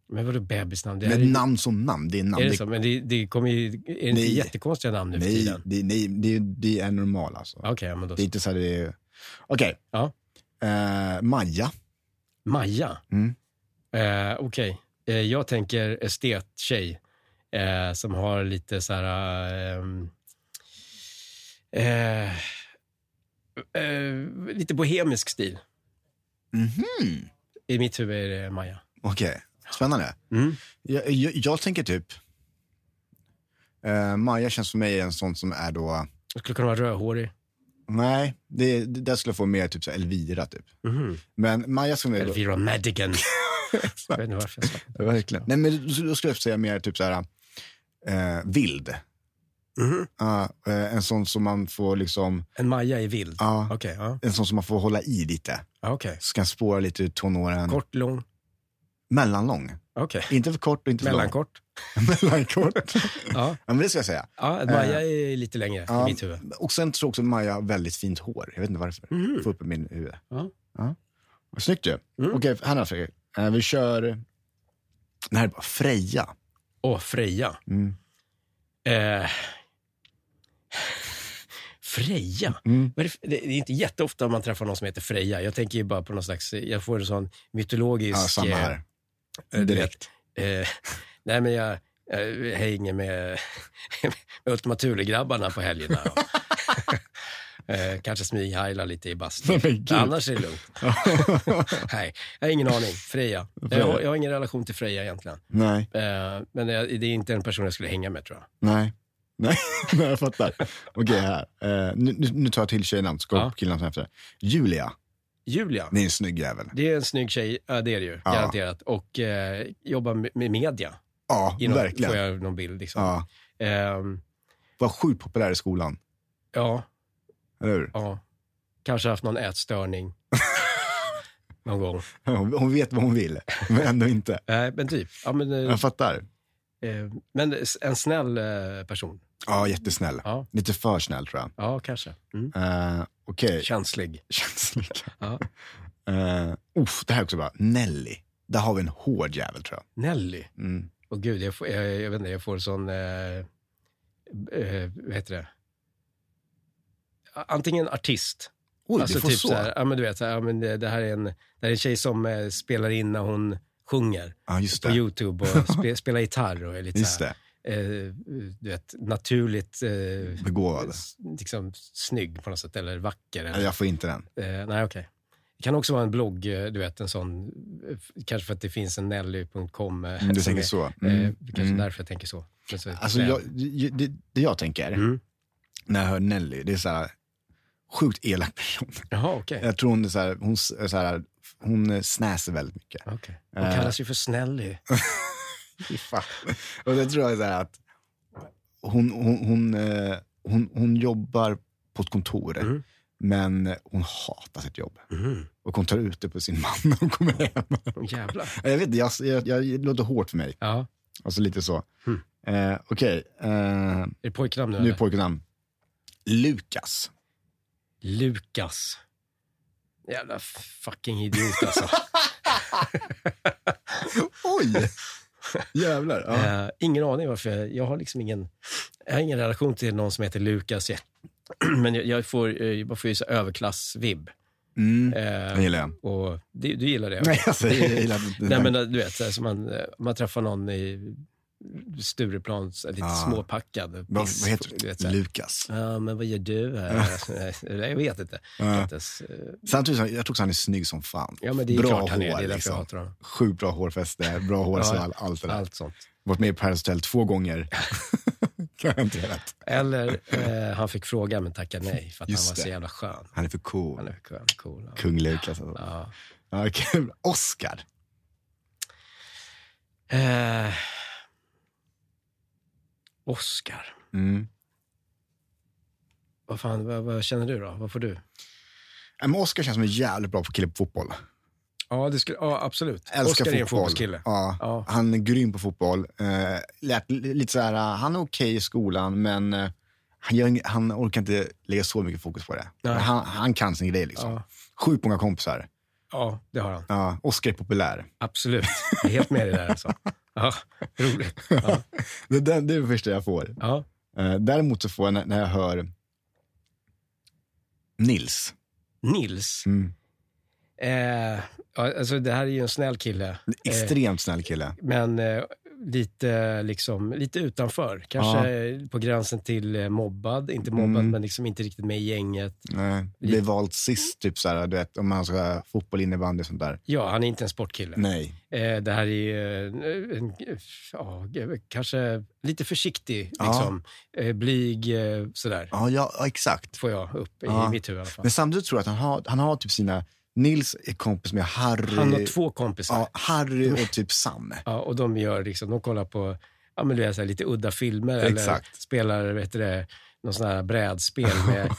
S1: Men vadå bebisnamn? Det här
S2: Men
S1: är ju-
S2: namn som namn, det är namn.
S1: Är det så? Men det, det kommer ju... Är det inte
S2: Nej.
S1: jättekonstiga namn nu för
S2: nej,
S1: tiden?
S2: det, nej det, det är normalt alltså.
S1: Okej, ja, men då
S2: Det är
S1: så.
S2: inte så här det är... Okej.
S1: Ja.
S2: Eh, Maja.
S1: Maja.
S2: Mm.
S1: Eh, Okej. Eh, jag tänker estettjej eh, som har lite så här... ehm, Eh, eh, lite bohemisk stil.
S2: Mhm.
S1: I mitt huvud är det Maja.
S2: Okej, spännande.
S1: Mm.
S2: Jag, jag, jag tänker typ... Eh, Maja känns för mig en sån som är då...
S1: Jag skulle kunna vara rödhårig.
S2: Nej, det, det där skulle jag få mer typ så här Elvira. Typ.
S1: Mhm.
S2: Men Maja skulle... jag-
S1: Elvira Madigan. jag vet inte varför jag sa
S2: Ja, Verkligen. Nej, men då- då skulle jag säga mer typ så här... Eh, vild.
S1: Mhm.
S2: Ja, eh, en sån som man får liksom...
S1: En Maja är vild.
S2: ja,
S1: Okej. ja.
S2: En sån som man får hålla i lite.
S1: ja. okej.
S2: Så kan spåra lite ur tonåren.
S1: Kort, lång.
S2: Mellanlång.
S1: Okej.
S2: Inte för kort och inte för
S1: Mellankort.
S2: lång. Mellankort.
S1: Ja.
S2: ja, men det ska jag säga.
S1: Ja, Maja är lite längre
S2: Eh. Ja.
S1: i mitt huvud.
S2: Och sen tror jag också att Maja har väldigt fint hår. Jag vet inte varför.
S1: Mhm.
S2: Få upp i min huvud.
S1: Ja.
S2: Ja. Snyggt ju.
S1: Mm.
S2: Okej, här är Fredrik. Eh, Vi kör... Det här är bara Freja.
S1: Åh, Freja.
S2: Mm.
S1: Eh. Freja?
S2: Mm.
S1: Vad är det för- Det är inte jätteofta man träffar någon som heter Freja. Jag tänker ju bara på någon slags, jag får en sån mytologisk...
S2: Ja, samma
S1: eh,
S2: här.
S1: eh, du
S2: Direkt.
S1: vet, Eh, nej, men jag, jag hänger med, med Ultima Thule-grabbarna på helgerna. eh, kanske smyghajlar lite i bastun.
S2: Men gud.
S1: Annars är det lugnt. nej, jag har ingen aning. Freja. Jag, har- jag har ingen relation till Freja egentligen.
S2: nej,
S1: Eh, men det det är inte en person jag skulle hänga med tror jag.
S2: nej. Nej, nej, jag fattar. Okej, här. Eh, nu, nu- nu tar jag till tjejnamn, så går
S1: Ja.
S2: ja. killarna efter. Julia.
S1: Julia.
S2: Det är en snygg jävel.
S1: Det är en snygg tjej, ja, det är det ju.
S2: Ja.
S1: Garanterat. Och eh, jobbar med med media.
S2: Ja,
S1: I någon,
S2: verkligen.
S1: får jag någon bild. Liksom.
S2: Ja.
S1: Ehm,
S2: Var sjukt populär i skolan.
S1: Ja,
S2: Eller hur?
S1: ja. Kanske haft någon ätstörning. någon gång.
S2: Hon, hon vet vad hon vill, men ändå inte.
S1: Nej, men typ. Ja, men, eh,
S2: Jag fattar.
S1: eh, men en snäll eh, person.
S2: Ja, jättesnäll.
S1: Ja.
S2: Lite för snäll tror jag.
S1: Ja, kanske. Mm.
S2: Uh, Okej,
S1: Känslig.
S2: känsligt.
S1: Ja.
S2: Uh, uff, det här är också bra. Nelly. Där har vi en hård jävel tror
S1: Nelly.
S2: jag. Mm.
S1: Åh gud, jag, får, jag, jag vet inte, jag får sån... Eh, eh, vad heter det? Antingen artist.
S2: Oj,
S1: alltså
S2: du får
S1: typ
S2: så.
S1: så här, ja, men du vet, så här, ja, men det, det här är en, det här är en tjej som eh, spelar in när hon sjunger
S2: Ja, just
S1: på
S2: det.
S1: YouTube och spe, spelar gitarr och är lite
S2: Just
S1: så här,
S2: det.
S1: eh, du vet, naturligt eh,
S2: Begåvad.
S1: s- liksom, snygg på något sätt, eller vacker. Eller,
S2: Nej, Jag får inte den.
S1: eh, nej, okej. Det kan också vara en blogg, eh, du vet, en sån, eh, f- kanske för att det finns en nelly.com. Eh,
S2: Mm, Du
S1: som
S2: tänker
S1: är-
S2: så.
S1: Eh,
S2: Mm.
S1: kanske
S2: Mm.
S1: därför jag tänker så. Men så
S2: Alltså,
S1: men-
S2: jag, ju- det, det jag tänker
S1: Mm.
S2: när jag hör Nelly, det är så här sjukt elak person.
S1: Jaha, okej.
S2: Jag tror hon, är så här, hon, s- är så här, hon snäser väldigt mycket.
S1: Okej. Hon
S2: Eh.
S1: kallas ju för Snälly.
S2: Fy fan. Och det tror jag är så här att hon, hon, hon, eh, hon, hon jobbar på ett kontor,
S1: Mm.
S2: men hon hatar sitt jobb.
S1: Mm.
S2: Och hon tar ut det på sin man när hon kommer hem.
S1: Åh, Jävlar.
S2: Jag vet inte, jag, jag, jag, det låter hårt för mig.
S1: Ja.
S2: Alltså lite så.
S1: Mm.
S2: Eh, Okej, eh,
S1: Är det pojknamn nu?
S2: nu
S1: eller?
S2: pojknamn. Lukas.
S1: Lukas. Jävla fucking idiot alltså.
S2: Oj! Jävlar. Ja.
S1: Eh, ingen aning varför. Jag, jag har liksom ingen, jag har ingen relation till någon som heter Lukas. Jag, men jag, jag får, eh, jag får ju så här överklass-vibb.
S2: Mm.
S1: Eh,
S2: Det gillar jag.
S1: och du, du gillar det?
S2: Nej, alltså, jag gillar inte
S1: Nej,
S2: den.
S1: men du vet, så här, som man, eh, man träffar någon i Stureplan, så här, lite
S2: Ja.
S1: småpackad. eh,
S2: Vad,
S1: piss-
S2: vad heter
S1: du?
S2: du?
S1: Vet, så här,
S2: Lukas.
S1: ja, men vad gör du här? Alltså, nej, jag vet inte. Jag kan
S2: Ja.
S1: inte ens, eh,
S2: Samtidigt, så- jag tror också han är snygg som fan.
S1: Ja, men det är
S2: Bra
S1: klart han är. Det är
S2: hår,
S1: därför
S2: liksom.
S1: jag hatar honom.
S2: Sjukt bra hårfäste, bra hårsvall, allt det där.
S1: Allt sånt.
S2: Varit med i Paradise Hotel två gånger. Garanterat.
S1: Eller eh, han fick fråga men tackade nej för att
S2: Just
S1: han var
S2: det.
S1: så jävla skön.
S2: Han är för cool.
S1: Han är skön, cool. Ja.
S2: Kung Lukas alltså.
S1: Ja.
S2: Ja, kul. Oscar.
S1: Eh, Oscar.
S2: Mm.
S1: Vad, fan, vad, vad känner du då? Vad får du?
S2: Ja, Men Oscar känns som en jävligt bra kille på fotboll.
S1: Ja, det skulle, ja absolut.
S2: Älskar
S1: Oscar
S2: fotboll.
S1: är en fotbollskille.
S2: Ja.
S1: Ja.
S2: Han är grym på fotboll. Eh, lät, lite så här, eh, han är okej i skolan, men eh, han, gör, ing- han orkar inte lägga så mycket fokus på det.
S1: Nej.
S2: Men Han, han kan sin grej. Liksom.
S1: Ja.
S2: Sjukt många kompisar.
S1: ja, det har han.
S2: Ja, Oscar är populär.
S1: Absolut. Jag är helt med i det där alltså. Ja, roligt. Ja.
S2: Det, det, det är det första jag får.
S1: Ja.
S2: Eh, däremot så får jag när, när jag hör Nils.
S1: Nils.
S2: Mm.
S1: Eh, ja, alltså, det här är ju en snäll kille. Eh,
S2: Extremt snäll kille.
S1: men eh, lite, liksom, lite utanför. Kanske eh, på gränsen till eh, mobbad. Inte mobbad,
S2: Mm.
S1: men liksom inte riktigt med i gänget.
S2: Nej, blir vald sist, typ så här, du vet, om man ska ha fotboll, innebandy och sånt där.
S1: Ja, han är inte en sportkille.
S2: Nej.
S1: Eh, det här är eh, en, ja, g- kanske lite försiktig,
S2: Ja.
S1: liksom. Eh, blyg, eh, sådär.
S2: Ja, ja, ja, exakt.
S1: Får jag upp i,
S2: Ja.
S1: mitt huvud i alla fall.
S2: Men samtidigt tror jag att han har, han har typ sina... Nils är kompis med Harry.
S1: Han har två kompisar.
S2: Ja,
S1: Ja.
S2: Harry och typ Sam.
S1: och de, gör, liksom, de kollar på ja, men du vet, så här, lite udda filmer eller
S2: Exakt.
S1: spelar vet du det, någon sån här brädspel med,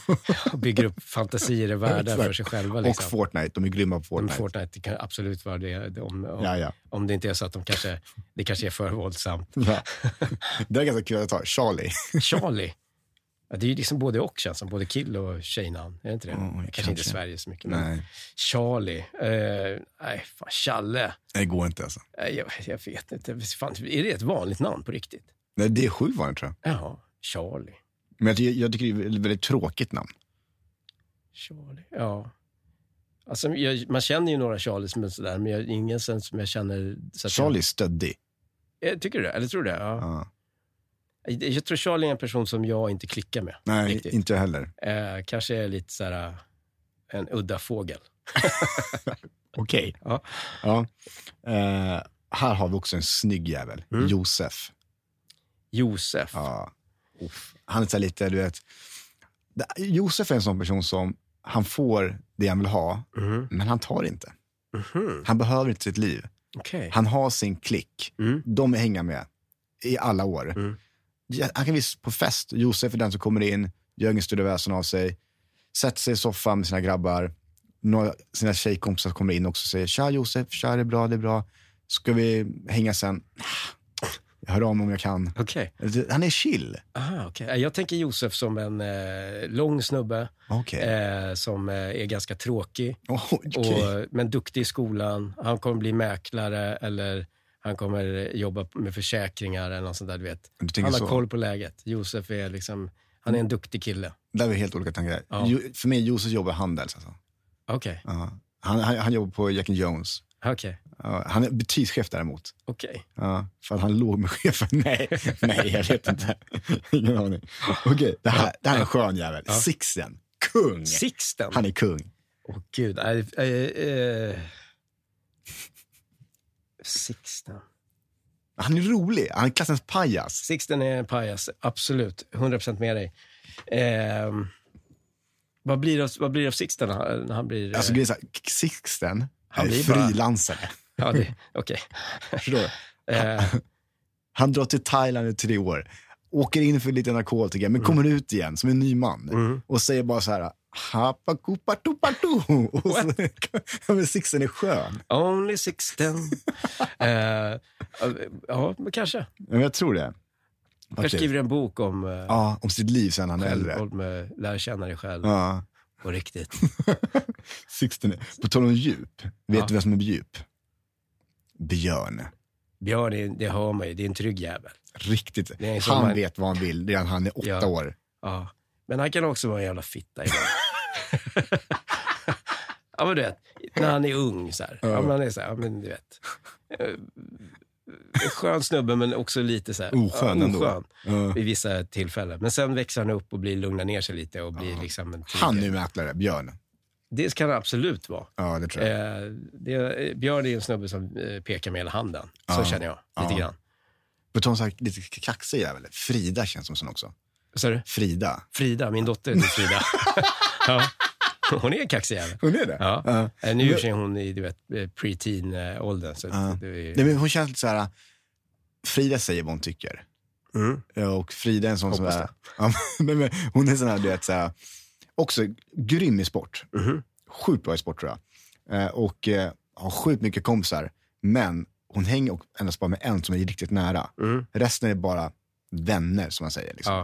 S1: och bygger upp fantasier i världar för
S2: Exakt.
S1: sig själva.
S2: Och
S1: Liksom.
S2: Fortnite. De är grymma på
S1: Men
S2: Fortnite.
S1: Fortnite det kan absolut vara det, det- om, om,
S2: Ja, ja.
S1: om det inte är så att de kanske, det kanske är för våldsamt.
S2: ja. Det är ganska kul att ta. Charlie.
S1: Charlie, ja, det är ju liksom både och känns som, både kill och tjejnamn. Är det inte det?
S2: Mm,
S1: kanske,
S2: kanske.
S1: inte i Sverige så
S2: Mm.
S1: mycket. Men Charlie, eh, nej, fan, Challe,
S2: det går inte alltså.
S1: nej, jag, jag vet inte. Fan, är det ett vanligt namn på riktigt?
S2: Nej, det är sjukt vanligt tror jag.
S1: Jaha, Charlie.
S2: Men jag, tycker- jag tycker det är ett väldigt tråkigt namn.
S1: Charlie, ja. Alltså, jag, man känner ju några Charlies, men, sådär, men jag, ingen sen som jag känner... Så att
S2: Charlie är stöddig.
S1: Jag, eh, tycker du det? Eller tror du det? Ja.
S2: Ja.
S1: Jag, jag tror Charlie är en person som jag inte klickar med.
S2: Nej,
S1: Riktigt.
S2: inte jag heller.
S1: Eh, kanske är lite så här en udda fågel.
S2: Okej.
S1: Ja.
S2: Ja. Eh, här har vi också en snygg jävel.
S1: Mm.
S2: Josef.
S1: Josef.
S2: Ja. Han är så här lite, du vet. Det- Josef är en sån person som, han får det han vill ha,
S1: Mhm.
S2: men han tar det inte.
S1: Mhm.
S2: Han behöver inte sitt liv.
S1: Okej.
S2: Han har sin klick.
S1: Mm.
S2: De hänger med i alla år.
S1: Mm.
S2: Ja, Han kan visst på fest. Josef är den som kommer in, gör ingen större väsen av sig. Sätter sig i soffan med sina grabbar. Några, sina tjejkompisar kommer in också och säger “Tja Josef, tja det är bra, det är bra. Ska vi hänga sen?” “Jag hör om om jag kan.”
S1: Okej.
S2: Han är chill.
S1: Aha, okej. Eh, Jag tänker Josef som en eh, lång snubbe
S2: Okej.
S1: eh, som eh, är ganska tråkig,
S2: Oh, okej.
S1: och, men duktig i skolan. Han kommer bli mäklare eller han kommer jobba med försäkringar eller något sånt där. Du vet.
S2: Du tänker
S1: Han har
S2: så.
S1: koll på läget. Josef är liksom, han är en duktig kille.
S2: Där är vi helt olika tankar.
S1: Ja.
S2: Jo, för mig Josef jobbar i Handels. Alltså.
S1: Okej,
S2: Ja. Han, han, han jobbar på Jack and Jones.
S1: okej,
S2: Ja, han är butikschef däremot.
S1: okej.
S2: Ja, för att han låg med chefen? Nej, nej jag vet inte. Ingen aning. Okej, det här, det här är en skön jävel. Sixten. Kung.
S1: Sixten?
S2: Han är kung.
S1: Åh gud. nej, eh, eh. Sixten.
S2: Han är rolig. Han är klassens pajas.
S1: Sixten är en pajas, absolut. 100% med dig. Ehm, vad, blir det, av- vad blir det av Sixten när han- när han blir... eh,
S2: Alltså, grejen är så här, Sixten
S1: Han
S2: han är
S1: blir bara-
S2: frilansare.
S1: ja, det- Okej.
S2: Förstår du?
S1: Eh,
S2: Han drar till Thailand i tre år, åker in för lite narkotika, men kommer ut igen som en ny man.
S1: mm.
S2: Och säger bara så här... Hapa kupa tupa tu. Och så, Ja, men Sixten är skön.
S1: only Sixten. Eh, ja, men kanske.
S2: Ja, Men jag tror det.
S1: Jag
S2: Faktiskt.
S1: skriver en bok om... eh,
S2: Ja, om sitt liv sen han är äldre.
S1: Självvåld med lär känna dig själv
S2: Ja.
S1: på riktigt.
S2: Sixten. På tal om djup, vet
S1: Ja.
S2: du vem som är djup? Björn.
S1: Björn, det- det hör man ju. Det är en trygg jävel.
S2: Riktigt.
S1: Det är som
S2: Han
S1: man-
S2: vet vad han vill redan han är åtta
S1: Ja.
S2: år.
S1: Ja. Men han kan också vara en jävla fitta ibland. ja, men du vet. När han är ung så här. Ja, men han är så här, ja, men du vet. Eh, Skön snubbe, men också lite så här.
S2: Oskön
S1: ja,
S2: ändå.
S1: oskön
S2: Ja.
S1: Vid vissa tillfällen. Men sen växer han upp och blir, lugnar ner sig lite och blir liksom en trygg-
S2: Han är mäklare, Björn.
S1: Det kan han absolut vara.
S2: Ja, det tror jag.
S1: Eh, det, eh, Björn är ju en snubbe som eh, pekar med hela handen. Så
S2: Ja.
S1: känner jag, lite
S2: Ja.
S1: grann.
S2: På tal om så här lite kaxig jävel, Frida känns som sån också.
S1: Så du?
S2: Frida.
S1: Frida, min dotter heter Frida. ja. Hon är en kaxig jävel.
S2: Hon är det?
S1: Ja.
S2: Ja.
S1: Eh, Nu är hon i du vet, eh, preteen-åldern. Så
S2: Ja.
S1: det är ju...
S2: Nej, men hon känns lite så här... Frida säger vad hon tycker.
S1: mm.
S2: Ja, Och Frida är en sån som
S1: Hoppas
S2: är... Ja, men- nej, men hon är sån här, du vet, så här... Också grym i sport.
S1: Mhm.
S2: Sjukt bra i sport tror jag. Eh, Och eh, har sjukt mycket kompisar. Men hon hänger och- endast bara med en som är riktigt nära.
S1: Mm.
S2: Resten är bara vänner, som man säger. Liksom.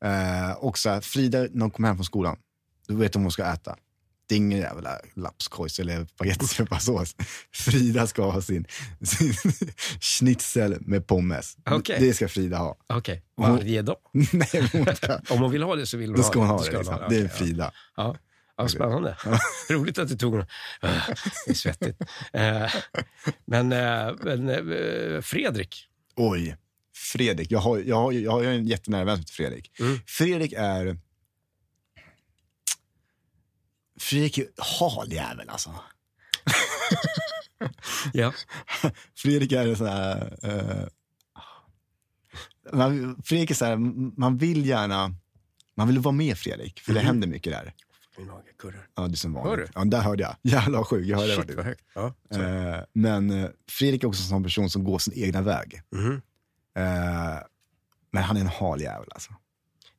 S1: Ja.
S2: Eh, Och så här, Frida, när hon kommer hem från skolan, då vet hon vad hon ska äta. Det är ingen jävla lapskojs eller spagetti med sås. Frida ska ha sin, sin schnitzel med pommes.
S1: Okej.
S2: Det ska Frida ha.
S1: Okej, varje dag.
S2: Nej, men hon ska,
S1: Om hon vill ha det så vill hon
S2: då ska hon ha
S1: Då
S2: det. Liksom.
S1: ha
S2: Det är
S1: Okej,
S2: Frida.
S1: Ja. Ja. Ja, spännande. Roligt att du tog honom. Ah, Det är svettigt. Eh, Men, eh, men eh, Fredrik,
S2: Oj. Fredrik. Jag har, jag har, jag har, jag är en jättenära vän som heter Fredrik.
S1: Mm.
S2: Fredrik är... Fredrik är hal jävel alltså.
S1: ja.
S2: Fredrik är en sån här... eh, man, Fredrik är så här, man vill gärna... Man vill vara med Fredrik, för det händer mycket där.
S1: min mage kurrar.
S2: Ja, det är som vanligt.
S1: Mm. Hör du?
S2: Ja, där hörde jag. Jävlar vad sjuk, jag hörde
S1: Shit,
S2: vad
S1: vad
S2: du.
S1: högt. Ja, så.
S2: Eh, men eh, Fredrik är också en sån person som går sin egna väg.
S1: Mhm.
S2: Eh, men han är en hal jävel alltså.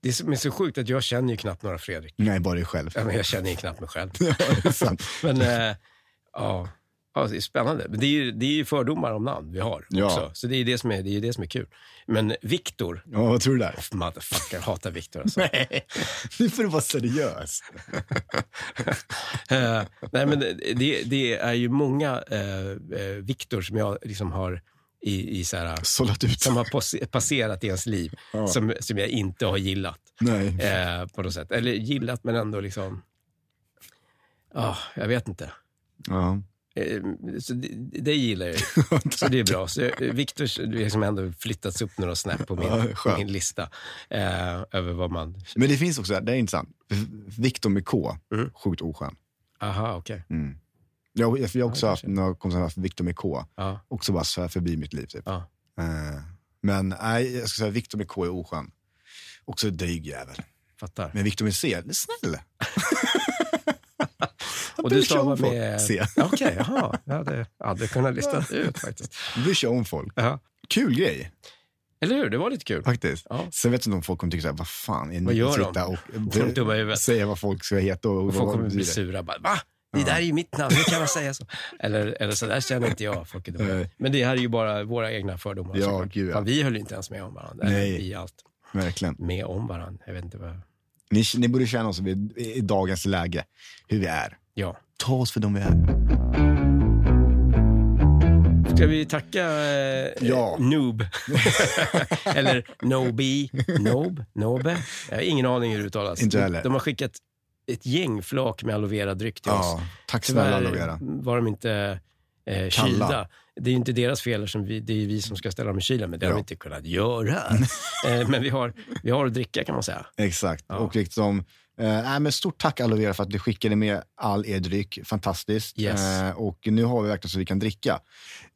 S1: Det är så, men så sjukt att jag känner ju knappt några Fredrik.
S2: Nej, bara dig själv.
S1: Ja, men Jag känner ju knappt mig själv.
S2: Ja, det är sant.
S1: Men eh, ja, ja, det är spännande. Men det är, ju, det är ju fördomar om namn vi har
S2: Ja.
S1: också. Så det är ju det som är, det är, ju det som är kul. Men Viktor,
S2: Ja, vad tror du där?
S1: motherfucker, hatar Viktor alltså.
S2: Nej, nu får du vara seriös.
S1: Eh, nej, men det, det är ju många eh, eh, Viktor som jag liksom har i, i så här,
S2: Sållat ut.
S1: som har pos- passerat i ens liv,
S2: Ja.
S1: som, som jag inte har gillat.
S2: Nej.
S1: Eh, på något sätt. Eller gillat, men ändå liksom... ja jag vet inte.
S2: Ja.
S1: Eh, så det, det gillar jag ju. Så det är bra. Så jag- Viktors, du har liksom ändå flyttats upp några snäpp på min,
S2: Ja,
S1: på
S2: skönt.
S1: min lista. Eh, över vad man...
S2: Men det finns också, det är intressant, Viktor med K,
S1: Mm.
S2: sjukt oskön.
S1: Aha, okej.
S2: Mm. Jag, jag, jag har också
S1: Ja,
S2: haft
S1: kanske.
S2: några kompisar som har haft Viktor med K,
S1: Ja,
S2: också bara svär förbi mitt liv. Typ.
S1: ja.
S2: Eh, Men nej, jag ska säga Viktor med K är oskön. Också dryg jävel.
S1: Fattar.
S2: Men Viktor med C, det är snäll.
S1: Och du sa
S2: bryr
S1: vad
S2: sig om
S1: med...
S2: folk. Se.
S1: Ja, Okej, jaha. Jag hade aldrig kunnat lista ut faktiskt.
S2: Bryr sig om folk.
S1: Ja.
S2: Kul grej.
S1: Eller hur? Det var lite kul.
S2: Faktiskt.
S1: Ja.
S2: Sen vet jag inte om folk kommer tycka så här, vad fan är
S1: Vad
S2: ni
S1: gör
S2: som
S1: de?
S2: sitter och
S1: Får de dumma i huvudet?
S2: säger vad folk ska heta och,
S1: Och
S2: vad
S1: folk kommer
S2: de
S1: bli
S2: betyder.
S1: sura. Bara, Va? Det där är ju mitt namn, hur kan man säga så? Eller, eller så där känner inte jag. Folk är dumma.
S2: Nej.
S1: Men det här är ju bara våra egna fördomar.
S2: Ja,
S1: såklart.
S2: gud, ja.
S1: Fan, vi höll ju inte ens med om varandra. Eller
S2: Nej.
S1: Vi allt
S2: Verkligen.
S1: med om varandra. Jag vet inte vad...
S2: Ni, ni borde känna oss i, i dagens läge, hur vi är.
S1: Ja.
S2: Ta oss för de vi är.
S1: Ska vi tacka eh,
S2: Ja.
S1: Noob? eller Nobi? Nob? Nobe? Jag har ingen aning hur det uttalas.
S2: Inte jag heller.
S1: De har skickat ett gäng flak med aloe vera-dryck till oss.
S2: Ja, tack snälla
S1: Tyvärr
S2: aloe vera.
S1: var de inte eh, kylda. Det är ju inte deras fel, som vi, det är ju vi som ska ställa dem i kylen, men det har
S2: Ja.
S1: vi inte kunnat göra. eh, men vi har, vi har att dricka kan man säga.
S2: Exakt.
S1: Ja.
S2: Och liksom, eh, äh, men stort tack Aloe Vera för att du skickade med all er dryck. Fantastiskt.
S1: Yes.
S2: Eh, och nu har vi verkligen så vi kan dricka.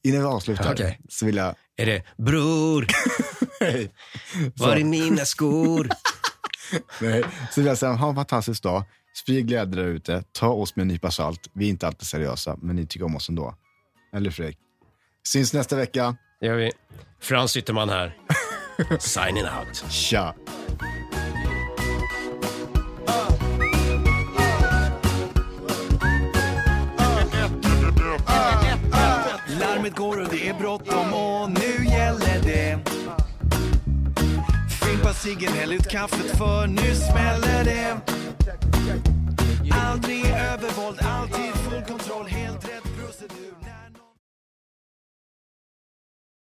S2: Innan vi avslutar
S1: Okej.
S2: så vill jag...
S1: Är det “Bror,
S2: så,
S1: var är mina skor?”
S2: nej, så vill jag säga, ha en fantastisk dag. Sprid glädje där ute. Ta oss med en nypa salt. Vi är inte alltid seriösa, men ni tycker om oss ändå. Eller hur, Fredrik? Syns nästa vecka.
S1: Det gör vi. Frans Ytterman här. Signing out.
S2: Tja!
S4: Larmet går och det är bråttom och nu gäller det Fimpa ciggen, häll ut kaffet för nu smäller det